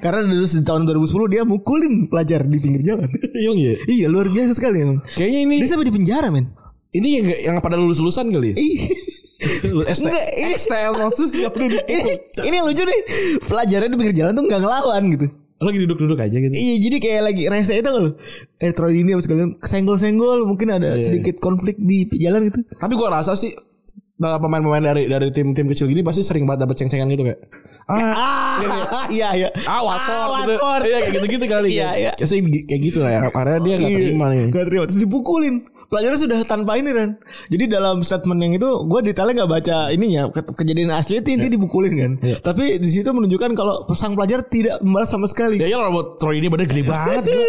[SPEAKER 3] Karena dulu di tahun 2010 dia mukulin pelajar di pinggir jalan.
[SPEAKER 2] Iya iya.
[SPEAKER 3] iya, luar biasa sekali emang.
[SPEAKER 2] Kayaknya ini
[SPEAKER 3] Dia sampai di penjara, men.
[SPEAKER 2] ini yang, yang pada lulus lulusan kali. ya? ST,
[SPEAKER 3] Iya. Enggak, ini-
[SPEAKER 2] XTL maksud nggak perlu
[SPEAKER 3] ini,
[SPEAKER 2] dipukul.
[SPEAKER 3] ini yang lucu nih. Pelajarnya di pinggir jalan tuh nggak ngelawan gitu.
[SPEAKER 2] Lagi duduk-duduk aja gitu.
[SPEAKER 3] Iya jadi kayak lagi rese itu kalau eh Troy ini apa segala senggol-senggol mungkin
[SPEAKER 2] Iya,
[SPEAKER 3] ada sedikit konflik di jalan gitu.
[SPEAKER 2] Tapi gua rasa sih nah, pemain-pemain dari dari tim-tim kecil gini pasti sering banget dapet ceng-cengan gitu kayak. Ah,
[SPEAKER 3] Ah, iya iya.
[SPEAKER 2] ah Watford
[SPEAKER 3] Ah,
[SPEAKER 2] gitu.
[SPEAKER 3] Watford.
[SPEAKER 2] Iya kayak gitu-gitu kali.
[SPEAKER 3] Iya,
[SPEAKER 2] kan.
[SPEAKER 3] iya.
[SPEAKER 2] Pasti kayak gitu lah ya. Akhirnya dia nggak terima nih.
[SPEAKER 3] Gak terima Terus dipukulin Pelajarnya sudah tanpa ini Ren Jadi dalam statement yang itu Gue detailnya gak baca ininya Ke- Kejadian asli itu intinya dipukulin kan Tapi di situ menunjukkan Kalau sang pelajar tidak membalas sama sekali
[SPEAKER 2] Ya ya robot Troy ini badan gede banget. gila.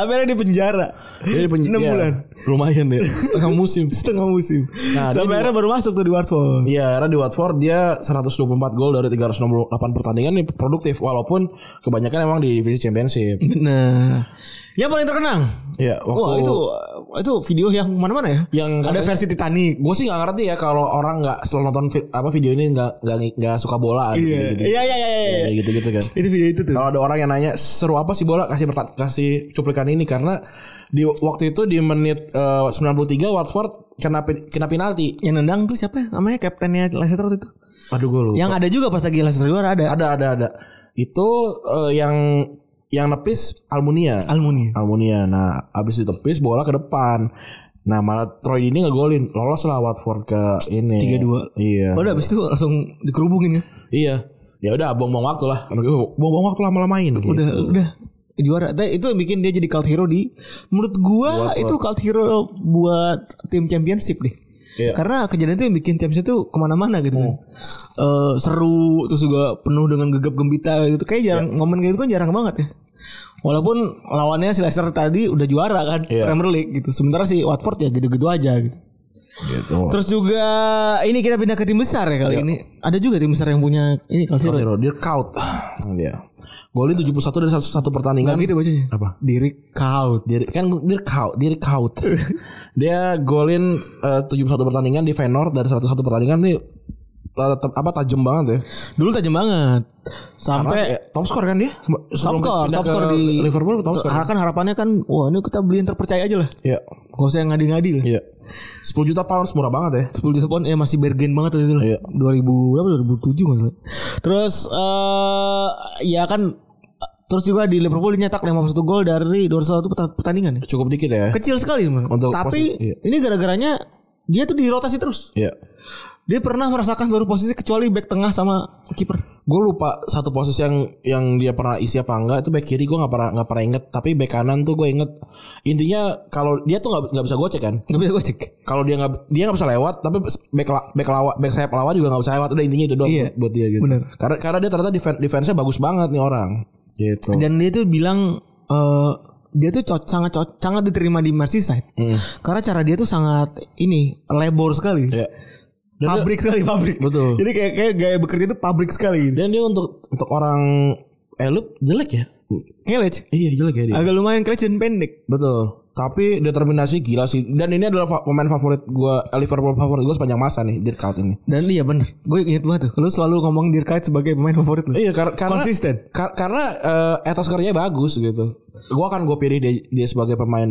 [SPEAKER 3] Sampai akhirnya di penjara
[SPEAKER 2] Jadi penj-
[SPEAKER 3] 6
[SPEAKER 2] ya,
[SPEAKER 3] bulan
[SPEAKER 2] Lumayan ya. deh. Setengah musim.
[SPEAKER 3] Setengah musim
[SPEAKER 2] Nah, dia
[SPEAKER 3] Sampai
[SPEAKER 2] di-
[SPEAKER 3] akhirnya baru masuk tuh di Watford
[SPEAKER 2] Iya, karena di Watford dia 124 gol dari 368 pertandingan nih produktif walaupun kebanyakan emang di divisi championship.
[SPEAKER 3] Nah Yang paling terkenang
[SPEAKER 2] Iya, waktu
[SPEAKER 3] Wah itu Itu video yang mana-mana ya
[SPEAKER 2] Yang
[SPEAKER 3] Ada
[SPEAKER 2] katanya-
[SPEAKER 3] versi Titanic
[SPEAKER 2] Gue sih gak ngerti ya kalau orang gak selalu nonton vi- apa video ini gak, gak, gak suka bola gitu,
[SPEAKER 3] Iya
[SPEAKER 2] gitu,
[SPEAKER 3] Iya iya iya iya.
[SPEAKER 2] Kayak gitu-gitu kan.
[SPEAKER 3] Itu video itu tuh
[SPEAKER 2] Kalau ada orang yang nanya seru apa sih bola kasih perta- kasih cuplikan ini karena di waktu itu di menit eh, 93 Watford kena pe- kena penalti.
[SPEAKER 3] Yang nendang tuh siapa ya? namanya Kaptennya Leicester waktu itu
[SPEAKER 2] Aduh gue lupa.
[SPEAKER 3] Yang ada juga pas lagi Leicester juara ada.
[SPEAKER 2] ada ada ada. Itu eh, yang yang nepis Almunia.
[SPEAKER 3] Almunia.
[SPEAKER 2] Almunia. Nah, habis ditepis bola ke depan. Nah, malah Troy ini ngegolin. Lolos lah Watford ke ini.
[SPEAKER 3] 3-2.
[SPEAKER 2] Iya.
[SPEAKER 3] Baru abis itu langsung dikerubungin ya.
[SPEAKER 2] Iya. Ya udah buang-buang waktu lah. Buang-buang waktu lama-lamain. Gitu.
[SPEAKER 3] Udah udah juara. Tapi itu yang bikin dia jadi cult hero di menurut gua itu cult hero buat tim championship deh.
[SPEAKER 2] Iya. Hmm.
[SPEAKER 3] Karena kejadian itu yang bikin championship tuh kemana-mana gitu kan. Eh, seru terus juga penuh dengan gegap gembita gitu. Kayak jarang
[SPEAKER 2] Iya.
[SPEAKER 3] momen kayak gitu kan jarang banget ya. Walaupun lawannya si Leicester tadi udah juara kan
[SPEAKER 2] Iya.
[SPEAKER 3] Premier League gitu. Sementara si Watford ya gitu-gitu aja gitu.
[SPEAKER 2] Gitu.
[SPEAKER 3] Terus juga ini kita pindah ke tim besar ya
[SPEAKER 2] Iya.
[SPEAKER 3] kali ini. Ada juga tim besar yang punya ini kalau tidak
[SPEAKER 2] Hero, dia kaut. Iya. Dia. Golin 71 dari satu, satu pertandingan.
[SPEAKER 3] gitu bacanya.
[SPEAKER 2] Apa?
[SPEAKER 3] Diri kaut.
[SPEAKER 2] Dia kan dia kaut, dia kaut. dia golin eh, 71 pertandingan di Feyenoord dari 101 pertandingan nih ta- ta- apa tajam banget ya.
[SPEAKER 3] Dulu tajam banget. Sampai
[SPEAKER 2] Eh, top score kan dia?
[SPEAKER 3] Ya. top
[SPEAKER 2] Sebelum
[SPEAKER 3] score,
[SPEAKER 2] pindah
[SPEAKER 3] top
[SPEAKER 2] ke
[SPEAKER 3] score di
[SPEAKER 2] Liverpool top score.
[SPEAKER 3] Harapan harapannya kan wah ini kita beli yang terpercaya aja lah.
[SPEAKER 2] Iya.
[SPEAKER 3] Gak usah yang ngadi-ngadi lah.
[SPEAKER 2] Iya. 10 juta pound murah banget ya.
[SPEAKER 3] 10 juta pound ya masih bergen banget waktu itu lah.
[SPEAKER 2] Iya.
[SPEAKER 3] 2000 berapa 2007 nggak salah. Terus eh ya kan terus juga di Liverpool dinyetak 51 gol dari 201 perta- pertandingan ya.
[SPEAKER 2] Cukup dikit ya.
[SPEAKER 3] Kecil sekali sebenarnya.
[SPEAKER 2] Untuk
[SPEAKER 3] Tapi
[SPEAKER 2] posisi- iya.
[SPEAKER 3] ini gara-garanya dia tuh dirotasi terus.
[SPEAKER 2] Iya.
[SPEAKER 3] Dia pernah merasakan seluruh posisi kecuali back tengah sama kiper.
[SPEAKER 2] Gue lupa satu posisi yang yang dia pernah isi apa enggak itu back kiri gue nggak pernah nggak pernah inget tapi back kanan tuh gue inget intinya kalau dia tuh nggak nggak bisa gocek kan
[SPEAKER 3] Gak bisa gue cek.
[SPEAKER 2] kalau dia nggak dia nggak bisa lewat tapi back la- back lawa- back sayap lawan juga nggak bisa lewat udah intinya itu doang
[SPEAKER 3] Iya,
[SPEAKER 2] buat dia gitu
[SPEAKER 3] bener.
[SPEAKER 2] karena karena dia ternyata defen- defense-nya bagus banget nih orang gitu
[SPEAKER 3] Dan dia tuh bilang eh, dia tuh co- sangat co- sangat diterima di Merseyside.
[SPEAKER 2] Hmm.
[SPEAKER 3] Karena cara dia tuh sangat ini labor sekali.
[SPEAKER 2] Iya. Dan dia-
[SPEAKER 3] Pabrik sekali pabrik.
[SPEAKER 2] Betul. Iya.
[SPEAKER 3] Jadi kayak kayak gaya bekerja itu pabrik sekali gitu.
[SPEAKER 2] dan dia untuk untuk orang elit jelek ya
[SPEAKER 3] Kelec.
[SPEAKER 2] iya jelek ya dia
[SPEAKER 3] Agak lumayan kelec dan pendek.
[SPEAKER 2] betul tapi determinasi gila sih dan ini adalah fa- pemain favorit gue Liverpool favorit gue sepanjang masa nih Dirk Kuyt ini
[SPEAKER 3] Dan iya bener. Gue inget banget tuh. Lu selalu ngomong Dirkait sebagai pemain favorit lu.
[SPEAKER 2] Iya kar- karena
[SPEAKER 3] Konsisten.
[SPEAKER 2] kar- karena eh, etos kerjanya bagus gitu. Gua akan gue pilih dia, dia sebagai pemain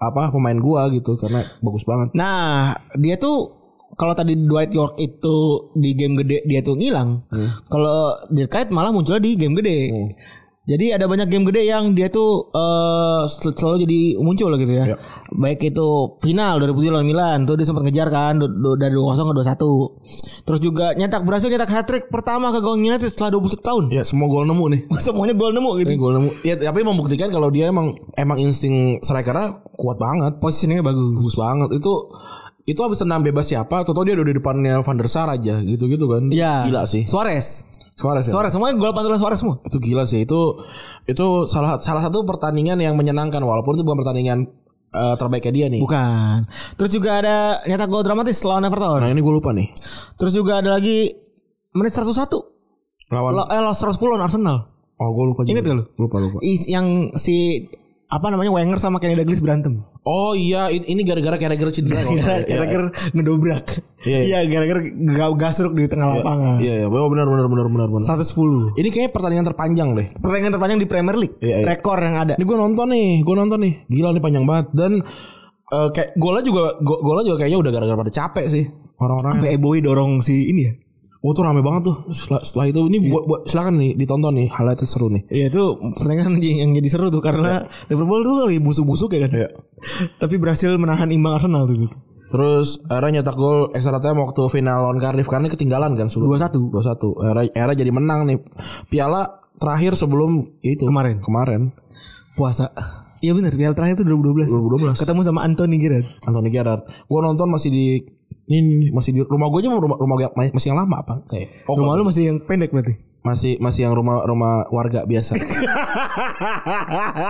[SPEAKER 2] apa pemain gua gitu karena bagus banget.
[SPEAKER 3] Nah, dia tuh kalau tadi Dwight York itu di game gede dia tuh ngilang.
[SPEAKER 2] Hmm.
[SPEAKER 3] Kalau Dirk Kuyt malah munculnya di game gede. Jadi ada banyak game gede yang dia tuh eh, sel- selalu jadi muncul gitu ya.
[SPEAKER 2] Yep.
[SPEAKER 3] Baik itu final 2007 lawan Milan tuh dia sempat ngejar kan du- du- dari 2-0 ke 21. Terus juga nyetak berhasil nyetak hat trick pertama ke gawang United setelah 21 tahun.
[SPEAKER 2] Ya semua gol nemu nih.
[SPEAKER 3] Semuanya gol nemu gitu.
[SPEAKER 2] Ini gol nemu. Ya tapi membuktikan kalau dia emang emang insting strikernya kuat banget.
[SPEAKER 3] Posisinya bagus.
[SPEAKER 2] Bagus banget. Itu itu habis tenang bebas siapa? Toto dia udah di depannya Van der Sar aja gitu-gitu kan.
[SPEAKER 3] Ya.
[SPEAKER 2] Gila sih.
[SPEAKER 3] Suarez.
[SPEAKER 2] Suarez ya.
[SPEAKER 3] Suarez semuanya gol pantulan Suarez semua.
[SPEAKER 2] Itu gila sih. Itu itu salah salah satu pertandingan yang menyenangkan walaupun itu bukan pertandingan eh, terbaiknya dia nih.
[SPEAKER 3] Bukan. Terus juga ada nyetak gol dramatis lawan Everton.
[SPEAKER 2] Nah, ini gue lupa nih.
[SPEAKER 3] Terus juga ada lagi menit 101.
[SPEAKER 2] Lawan
[SPEAKER 3] Lo, eh, lo 110 lawan Arsenal.
[SPEAKER 2] Oh gue lupa juga.
[SPEAKER 3] Ingat gak lu?
[SPEAKER 2] Lupa lupa.
[SPEAKER 3] Is, yang si apa namanya Wenger sama Kenny Douglas berantem.
[SPEAKER 2] Oh iya, in- ini gara-gara gara-gara cedera. kalau nggak salah.
[SPEAKER 3] Gara-
[SPEAKER 2] Iya.
[SPEAKER 3] Gara-gara ngedobrak.
[SPEAKER 2] Iya, iya.
[SPEAKER 3] Iya, gara-gara ga- gasruk di tengah lapangan.
[SPEAKER 2] Iya iya, Wah, benar benar benar benar benar.
[SPEAKER 3] 110.
[SPEAKER 2] Ini kayaknya pertandingan terpanjang deh.
[SPEAKER 3] Pertandingan terpanjang di Premier League.
[SPEAKER 2] Iya, iya.
[SPEAKER 3] Rekor yang ada.
[SPEAKER 2] Ini gue nonton nih, gue nonton nih. Gila nih panjang banget dan eh, kayak golnya juga go- golnya juga kayaknya udah gara-gara pada capek sih orang-orang.
[SPEAKER 3] Sampai Eboy dorong si ini ya.
[SPEAKER 2] Wah tuh rame banget tuh. Setelah, setelah itu ini buat buat silakan nih ditonton nih highlight seru nih.
[SPEAKER 3] Iya itu pertandingan yang yang jadi seru tuh karena Liverpool tuh lagi busuk-busuk ya kan.
[SPEAKER 2] Iya.
[SPEAKER 3] Tapi berhasil menahan imbang Arsenal tuh.
[SPEAKER 2] Terus era nyetak gol extra time waktu final lawan Cardiff karena ketinggalan kan sebelum
[SPEAKER 3] 2-1.
[SPEAKER 2] 2-1. Era era jadi menang nih. Piala terakhir sebelum itu
[SPEAKER 3] Kemarin.
[SPEAKER 2] Kemarin.
[SPEAKER 3] Puasa. Iya benar, Piala terakhir itu 2012.
[SPEAKER 2] 2012.
[SPEAKER 3] Ketemu sama Anthony Gerrard.
[SPEAKER 2] Anthony Gerrard. Gue nonton masih di ini nih, masih di rumah gue aja rumah rumah gua masih yang lama apa kayak oh,
[SPEAKER 3] Rumah lu masih yang pendek berarti.
[SPEAKER 2] masih masih yang rumah rumah warga biasa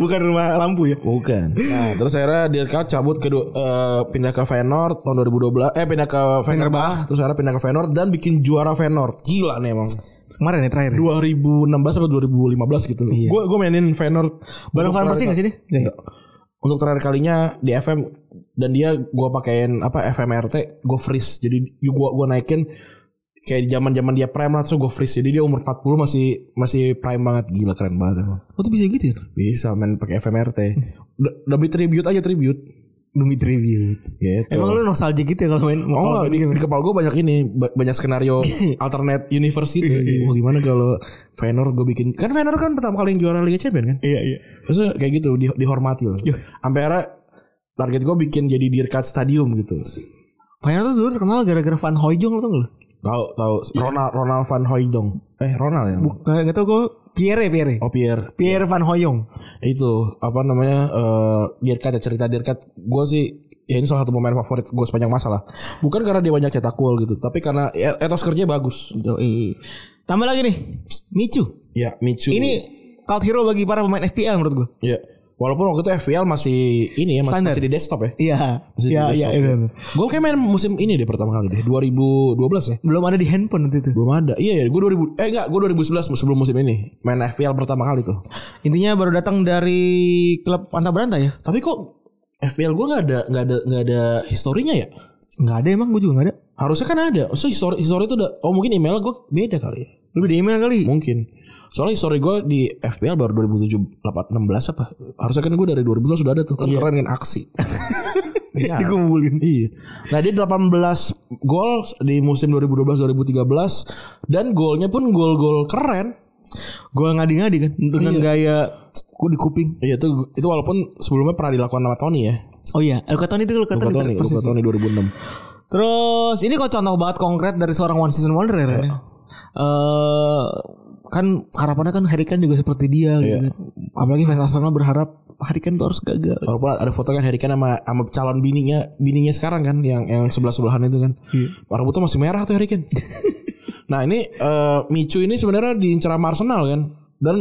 [SPEAKER 3] Bukan rumah lampu ya.
[SPEAKER 2] bukan nah terus akhirnya Dirk cabut ke du- eh, pindah ke Feyenoord tahun 2012 eh pindah ke Fenerbahce terus akhirnya pindah ke Feyenoord dan bikin juara Feyenoord gila nih emang
[SPEAKER 3] Kemarin ya terakhir. ya?
[SPEAKER 2] 2016 atau 2015 gitu gue gue mainin Feyenoord
[SPEAKER 3] Bareng
[SPEAKER 2] Untuk
[SPEAKER 3] farmasi nggak sih
[SPEAKER 2] terakhir-
[SPEAKER 3] dia?
[SPEAKER 2] Nggak. untuk terakhir kalinya di FM dan dia gue pakein apa FMRT gue freeze jadi gue gua naikin kayak di zaman zaman dia prime lah terus gue freeze jadi dia umur 40 masih masih prime banget gila keren banget emang
[SPEAKER 3] Oh tuh bisa gitu ya?
[SPEAKER 2] bisa main pakai FMRT D- demi tribute aja tribute
[SPEAKER 3] Demi tribute.
[SPEAKER 2] gitu
[SPEAKER 3] Emang lu nostalgic gitu ya kalau main
[SPEAKER 2] Oh
[SPEAKER 3] kalau
[SPEAKER 2] enggak, di, di kepala gue banyak ini ba- Banyak skenario alternate universe gitu Wah gimana kalau Feyenoord gue bikin Kan Feyenoord kan pertama kali yang juara Liga Champion kan
[SPEAKER 3] Iya iya.
[SPEAKER 2] Terus kayak gitu di, dihormati loh. Sampai era target gue bikin jadi Dirkat Stadium gitu.
[SPEAKER 3] Feyenoord tuh dulu terkenal gara-gara Van Hooijong lo tau gak lu?
[SPEAKER 2] Tahu tahu Ronald Ronald van Hooijdonk. Eh Ronald ya.
[SPEAKER 3] Nggak nggak tau gue Pierre ya, Pierre.
[SPEAKER 2] Oh Pierre.
[SPEAKER 3] Pierre Van Hooijong.
[SPEAKER 2] Itu apa namanya eh Dirkat ya cerita Dirkat. Gue sih ya ini salah satu pemain favorit gue sepanjang masa lah. Bukan karena dia banyak cetak gol gitu, tapi karena et- etos kerja bagus.
[SPEAKER 3] Doi. Tambah lagi nih, Michu.
[SPEAKER 2] Ya, Michu.
[SPEAKER 3] Ini cult hero bagi para pemain FPL menurut gue.
[SPEAKER 2] ya. Walaupun waktu itu FPL masih ini ya masih,
[SPEAKER 3] Standar.
[SPEAKER 2] masih di desktop ya.
[SPEAKER 3] Iya,
[SPEAKER 2] Masih
[SPEAKER 3] iya,
[SPEAKER 2] di
[SPEAKER 3] iya,
[SPEAKER 2] desktop.
[SPEAKER 3] iya, iya.
[SPEAKER 2] Gue kayak main musim ini deh pertama kali deh 2012 ya.
[SPEAKER 3] Belum ada di handphone waktu itu.
[SPEAKER 2] Belum ada. Iya ya, gue 2000 eh enggak, gue 2011 sebelum musim ini. Main FPL pertama kali tuh.
[SPEAKER 3] Intinya baru datang dari klub Anta Beranta ya?
[SPEAKER 2] Tapi kok FPL gue nggak ada nggak ada nggak ada historinya ya?
[SPEAKER 3] Nggak ada emang, gue juga nggak ada.
[SPEAKER 2] Harusnya kan ada. So histori histori itu udah oh mungkin email gue beda kali ya.
[SPEAKER 3] Lebih di email kali.
[SPEAKER 2] Mungkin. Soalnya histori gue di FPL baru 2007 8 16 apa? Harusnya kan gue dari 2012 sudah ada tuh. Kan keren kan aksi. Iya.
[SPEAKER 3] Dikumpulin.
[SPEAKER 2] Iya. Nah dia 18 gol di musim 2012-2013 dan golnya pun gol-gol keren.
[SPEAKER 3] Gol ngadi-ngadi kan dengan gaya ku di kuping.
[SPEAKER 2] Iya itu itu walaupun sebelumnya pernah dilakukan sama Tony ya.
[SPEAKER 3] Oh iya, Luka Toni itu Luka
[SPEAKER 2] Luka Toni,
[SPEAKER 3] Toni. persis.
[SPEAKER 2] Luka Toni 2006.
[SPEAKER 3] Terus ini kok contoh banget konkret dari seorang one season wonder ya. Ren, ya? Eh, kan harapannya kan Harry Kane juga seperti dia gitu kan. Apalagi fans Arsenal berharap Harry Kane tuh harus gagal.
[SPEAKER 2] Walaupun ada foto kan Harry Kane sama, sama calon bininya bininya sekarang kan yang yang sebelah sebelahan itu kan. Rambutnya masih merah tuh Harry Kane. nah ini eh, Micu ini sebenarnya diincar sama Arsenal kan dan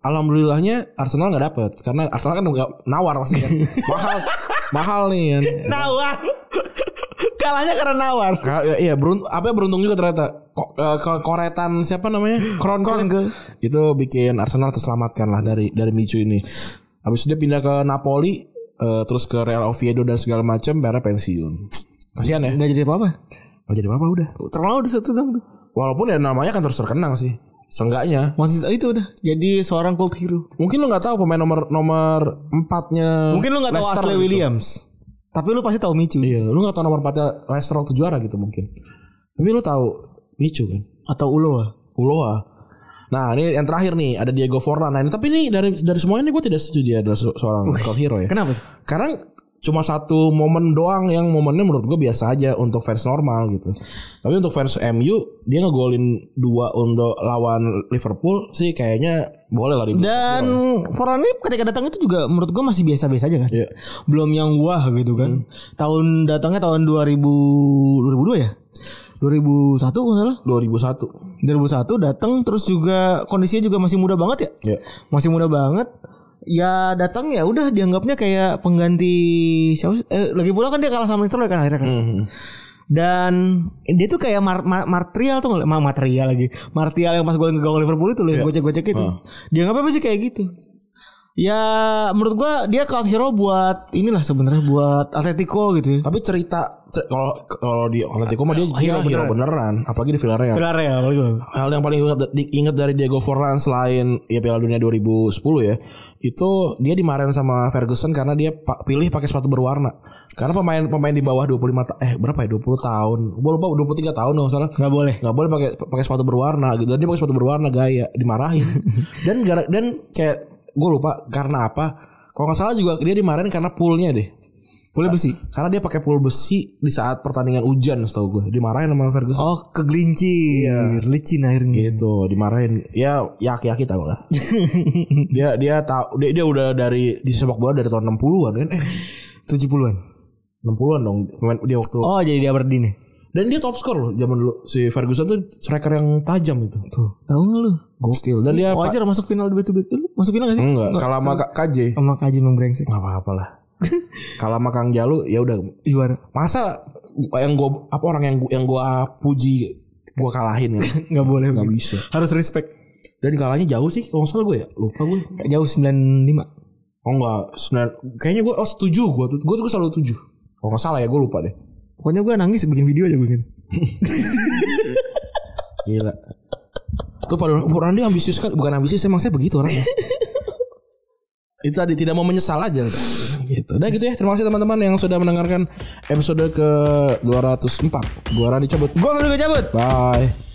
[SPEAKER 2] alhamdulillahnya Arsenal nggak dapet karena Arsenal kan nggak nawar pasti kan. mahal mahal nih kan.
[SPEAKER 3] Nawar. Kalahnya karena nawar.
[SPEAKER 2] Ka- ya- iya beruntung apa ya, beruntung juga ternyata Ko, eh, ke- koretan siapa namanya Kronkel itu bikin Arsenal terselamatkan lah dari dari Michu ini habis itu dia pindah ke Napoli eh, terus ke Real Oviedo dan segala macam bara pensiun kasihan ya
[SPEAKER 3] Enggak jadi apa-apa.
[SPEAKER 2] nggak jadi apa udah
[SPEAKER 3] Terlalu udah satu dong tuh.
[SPEAKER 2] walaupun ya namanya kan terus terkenang sih Seenggaknya
[SPEAKER 3] One season itu udah jadi seorang cult hero.
[SPEAKER 2] Mungkin lo gak tahu pemain nomor nomor empatnya
[SPEAKER 3] Mungkin lu nggak tahu
[SPEAKER 2] Leicester
[SPEAKER 3] Ashley
[SPEAKER 2] gitu.
[SPEAKER 3] Williams. Tapi lu pasti tahu Michu.
[SPEAKER 2] Iya lu gak tahu nomor empatnya Leicester waktu juara gitu mungkin Tapi lu tahu Michu kan
[SPEAKER 3] Atau Uloa.
[SPEAKER 2] Uloa. Nah ini yang terakhir nih ada Diego Forlan. Nah ini tapi ini dari dari semuanya ini gue tidak setuju dia adalah se- seorang cult hero ya.
[SPEAKER 3] Kenapa tuh?
[SPEAKER 2] Karena cuma satu momen doang yang momennya menurut gue biasa aja untuk fans normal gitu. Tapi untuk fans MU dia ngegolin dua untuk lawan Liverpool sih kayaknya boleh lah dibilang.
[SPEAKER 3] Dan Foran ini ketika datang itu juga menurut gua masih biasa-biasa aja kan.
[SPEAKER 2] Iya.
[SPEAKER 3] Belum yang wah gitu kan. Tahun datangnya tahun 2000 2002 ya. 2001 kalau nggak salah.
[SPEAKER 2] 2001.
[SPEAKER 3] 2001 datang terus juga kondisinya juga masih muda banget ya.
[SPEAKER 2] Iya.
[SPEAKER 3] Masih muda banget. Ya datang ya udah dianggapnya kayak pengganti siapa sih? Eh, lagi pula kan dia kalah sama Leicester kan akhirnya kan. Dan dia tuh kayak mar, mar- material tuh ma- material lagi. Material yang pas gue ke gawang Liverpool itu loh, yang gocek-gocek itu. Dianggapnya pasti kayak gitu. Ya menurut gua dia cloud hero buat inilah sebenarnya buat Atletico gitu. ya.
[SPEAKER 2] Tapi cerita cer- kalau kalau di Atletico mah dia dia
[SPEAKER 3] Hero
[SPEAKER 2] hero beneran, apalagi di Villarreal.
[SPEAKER 3] Villarreal apalagi gua.
[SPEAKER 2] Hal yang paling ingat, diingat dari Diego Forlan selain ya Piala Dunia 2010 ya, itu dia dimarahin sama Ferguson karena dia pa- pilih pakai sepatu berwarna. Karena pemain-pemain di bawah 25 ta- eh berapa ya 20 tahun. Gua lupa 23 tahun dong salah.
[SPEAKER 3] nggak boleh.
[SPEAKER 2] nggak boleh pakai pakai sepatu berwarna gitu. Dan dia pakai sepatu berwarna gaya dimarahin. dan gara, dan kayak gue lupa karena apa? Kalau nggak salah juga dia dimarahin karena poolnya deh.
[SPEAKER 3] Boleh besi.
[SPEAKER 2] Karena dia pakai pool besi di saat pertandingan hujan setahu gue. Dimarahin sama Ferguson.
[SPEAKER 3] Oh kegelinci Licin akhirnya
[SPEAKER 2] Gitu, dimarahin. Ya yaki-yaki tau lah. dia dia tahu dia, dia udah dari di sepak bola dari tahun 60-an kan. Eh,
[SPEAKER 3] 70-an
[SPEAKER 2] 60-an dong pemain- dia waktu.
[SPEAKER 3] Oh jadi di Aberdeen ya
[SPEAKER 2] Dan dia top score loh zaman dulu. Si Ferguson tuh striker yang tajam itu.
[SPEAKER 3] Tuh Tahu gak lu
[SPEAKER 2] Gokil. Dan dia
[SPEAKER 3] Oh, Wajar masuk final dua beat Lu masuk final gak sih
[SPEAKER 2] Enggak, kalau sama Kak KJ
[SPEAKER 3] Sama Kaji memang brengsek
[SPEAKER 2] nggak apa-apa lah. kalau sama Kang Jalu ya udah
[SPEAKER 3] Juara
[SPEAKER 2] masa yang gua apa orang yang gua, yang gua puji gua kalahin ya.
[SPEAKER 3] Gak boleh
[SPEAKER 2] Nggak
[SPEAKER 3] begitu.
[SPEAKER 2] bisa.
[SPEAKER 3] Harus respect
[SPEAKER 2] Dan kalahnya jauh sih kalau nggak salah gue ya. Lupa gue.
[SPEAKER 3] Jauh 95
[SPEAKER 2] Oh enggak, sembilan- kayaknya gue oh setuju gue tuh. Gue tuh selalu tujuh. Kalau nggak salah ya gue lupa deh.
[SPEAKER 3] Pokoknya gue nangis bikin video aja gitu. bikin
[SPEAKER 2] Gila. Tuh pada orang dia ambisius kan, bukan ambisius emang saya begitu orangnya. Itu tadi tidak mau menyesal aja gitu. Udah gitu ya. Terima kasih teman-teman yang sudah mendengarkan episode ke 204. Gua Rani cabut.
[SPEAKER 3] Gue baru cabut
[SPEAKER 2] Bye.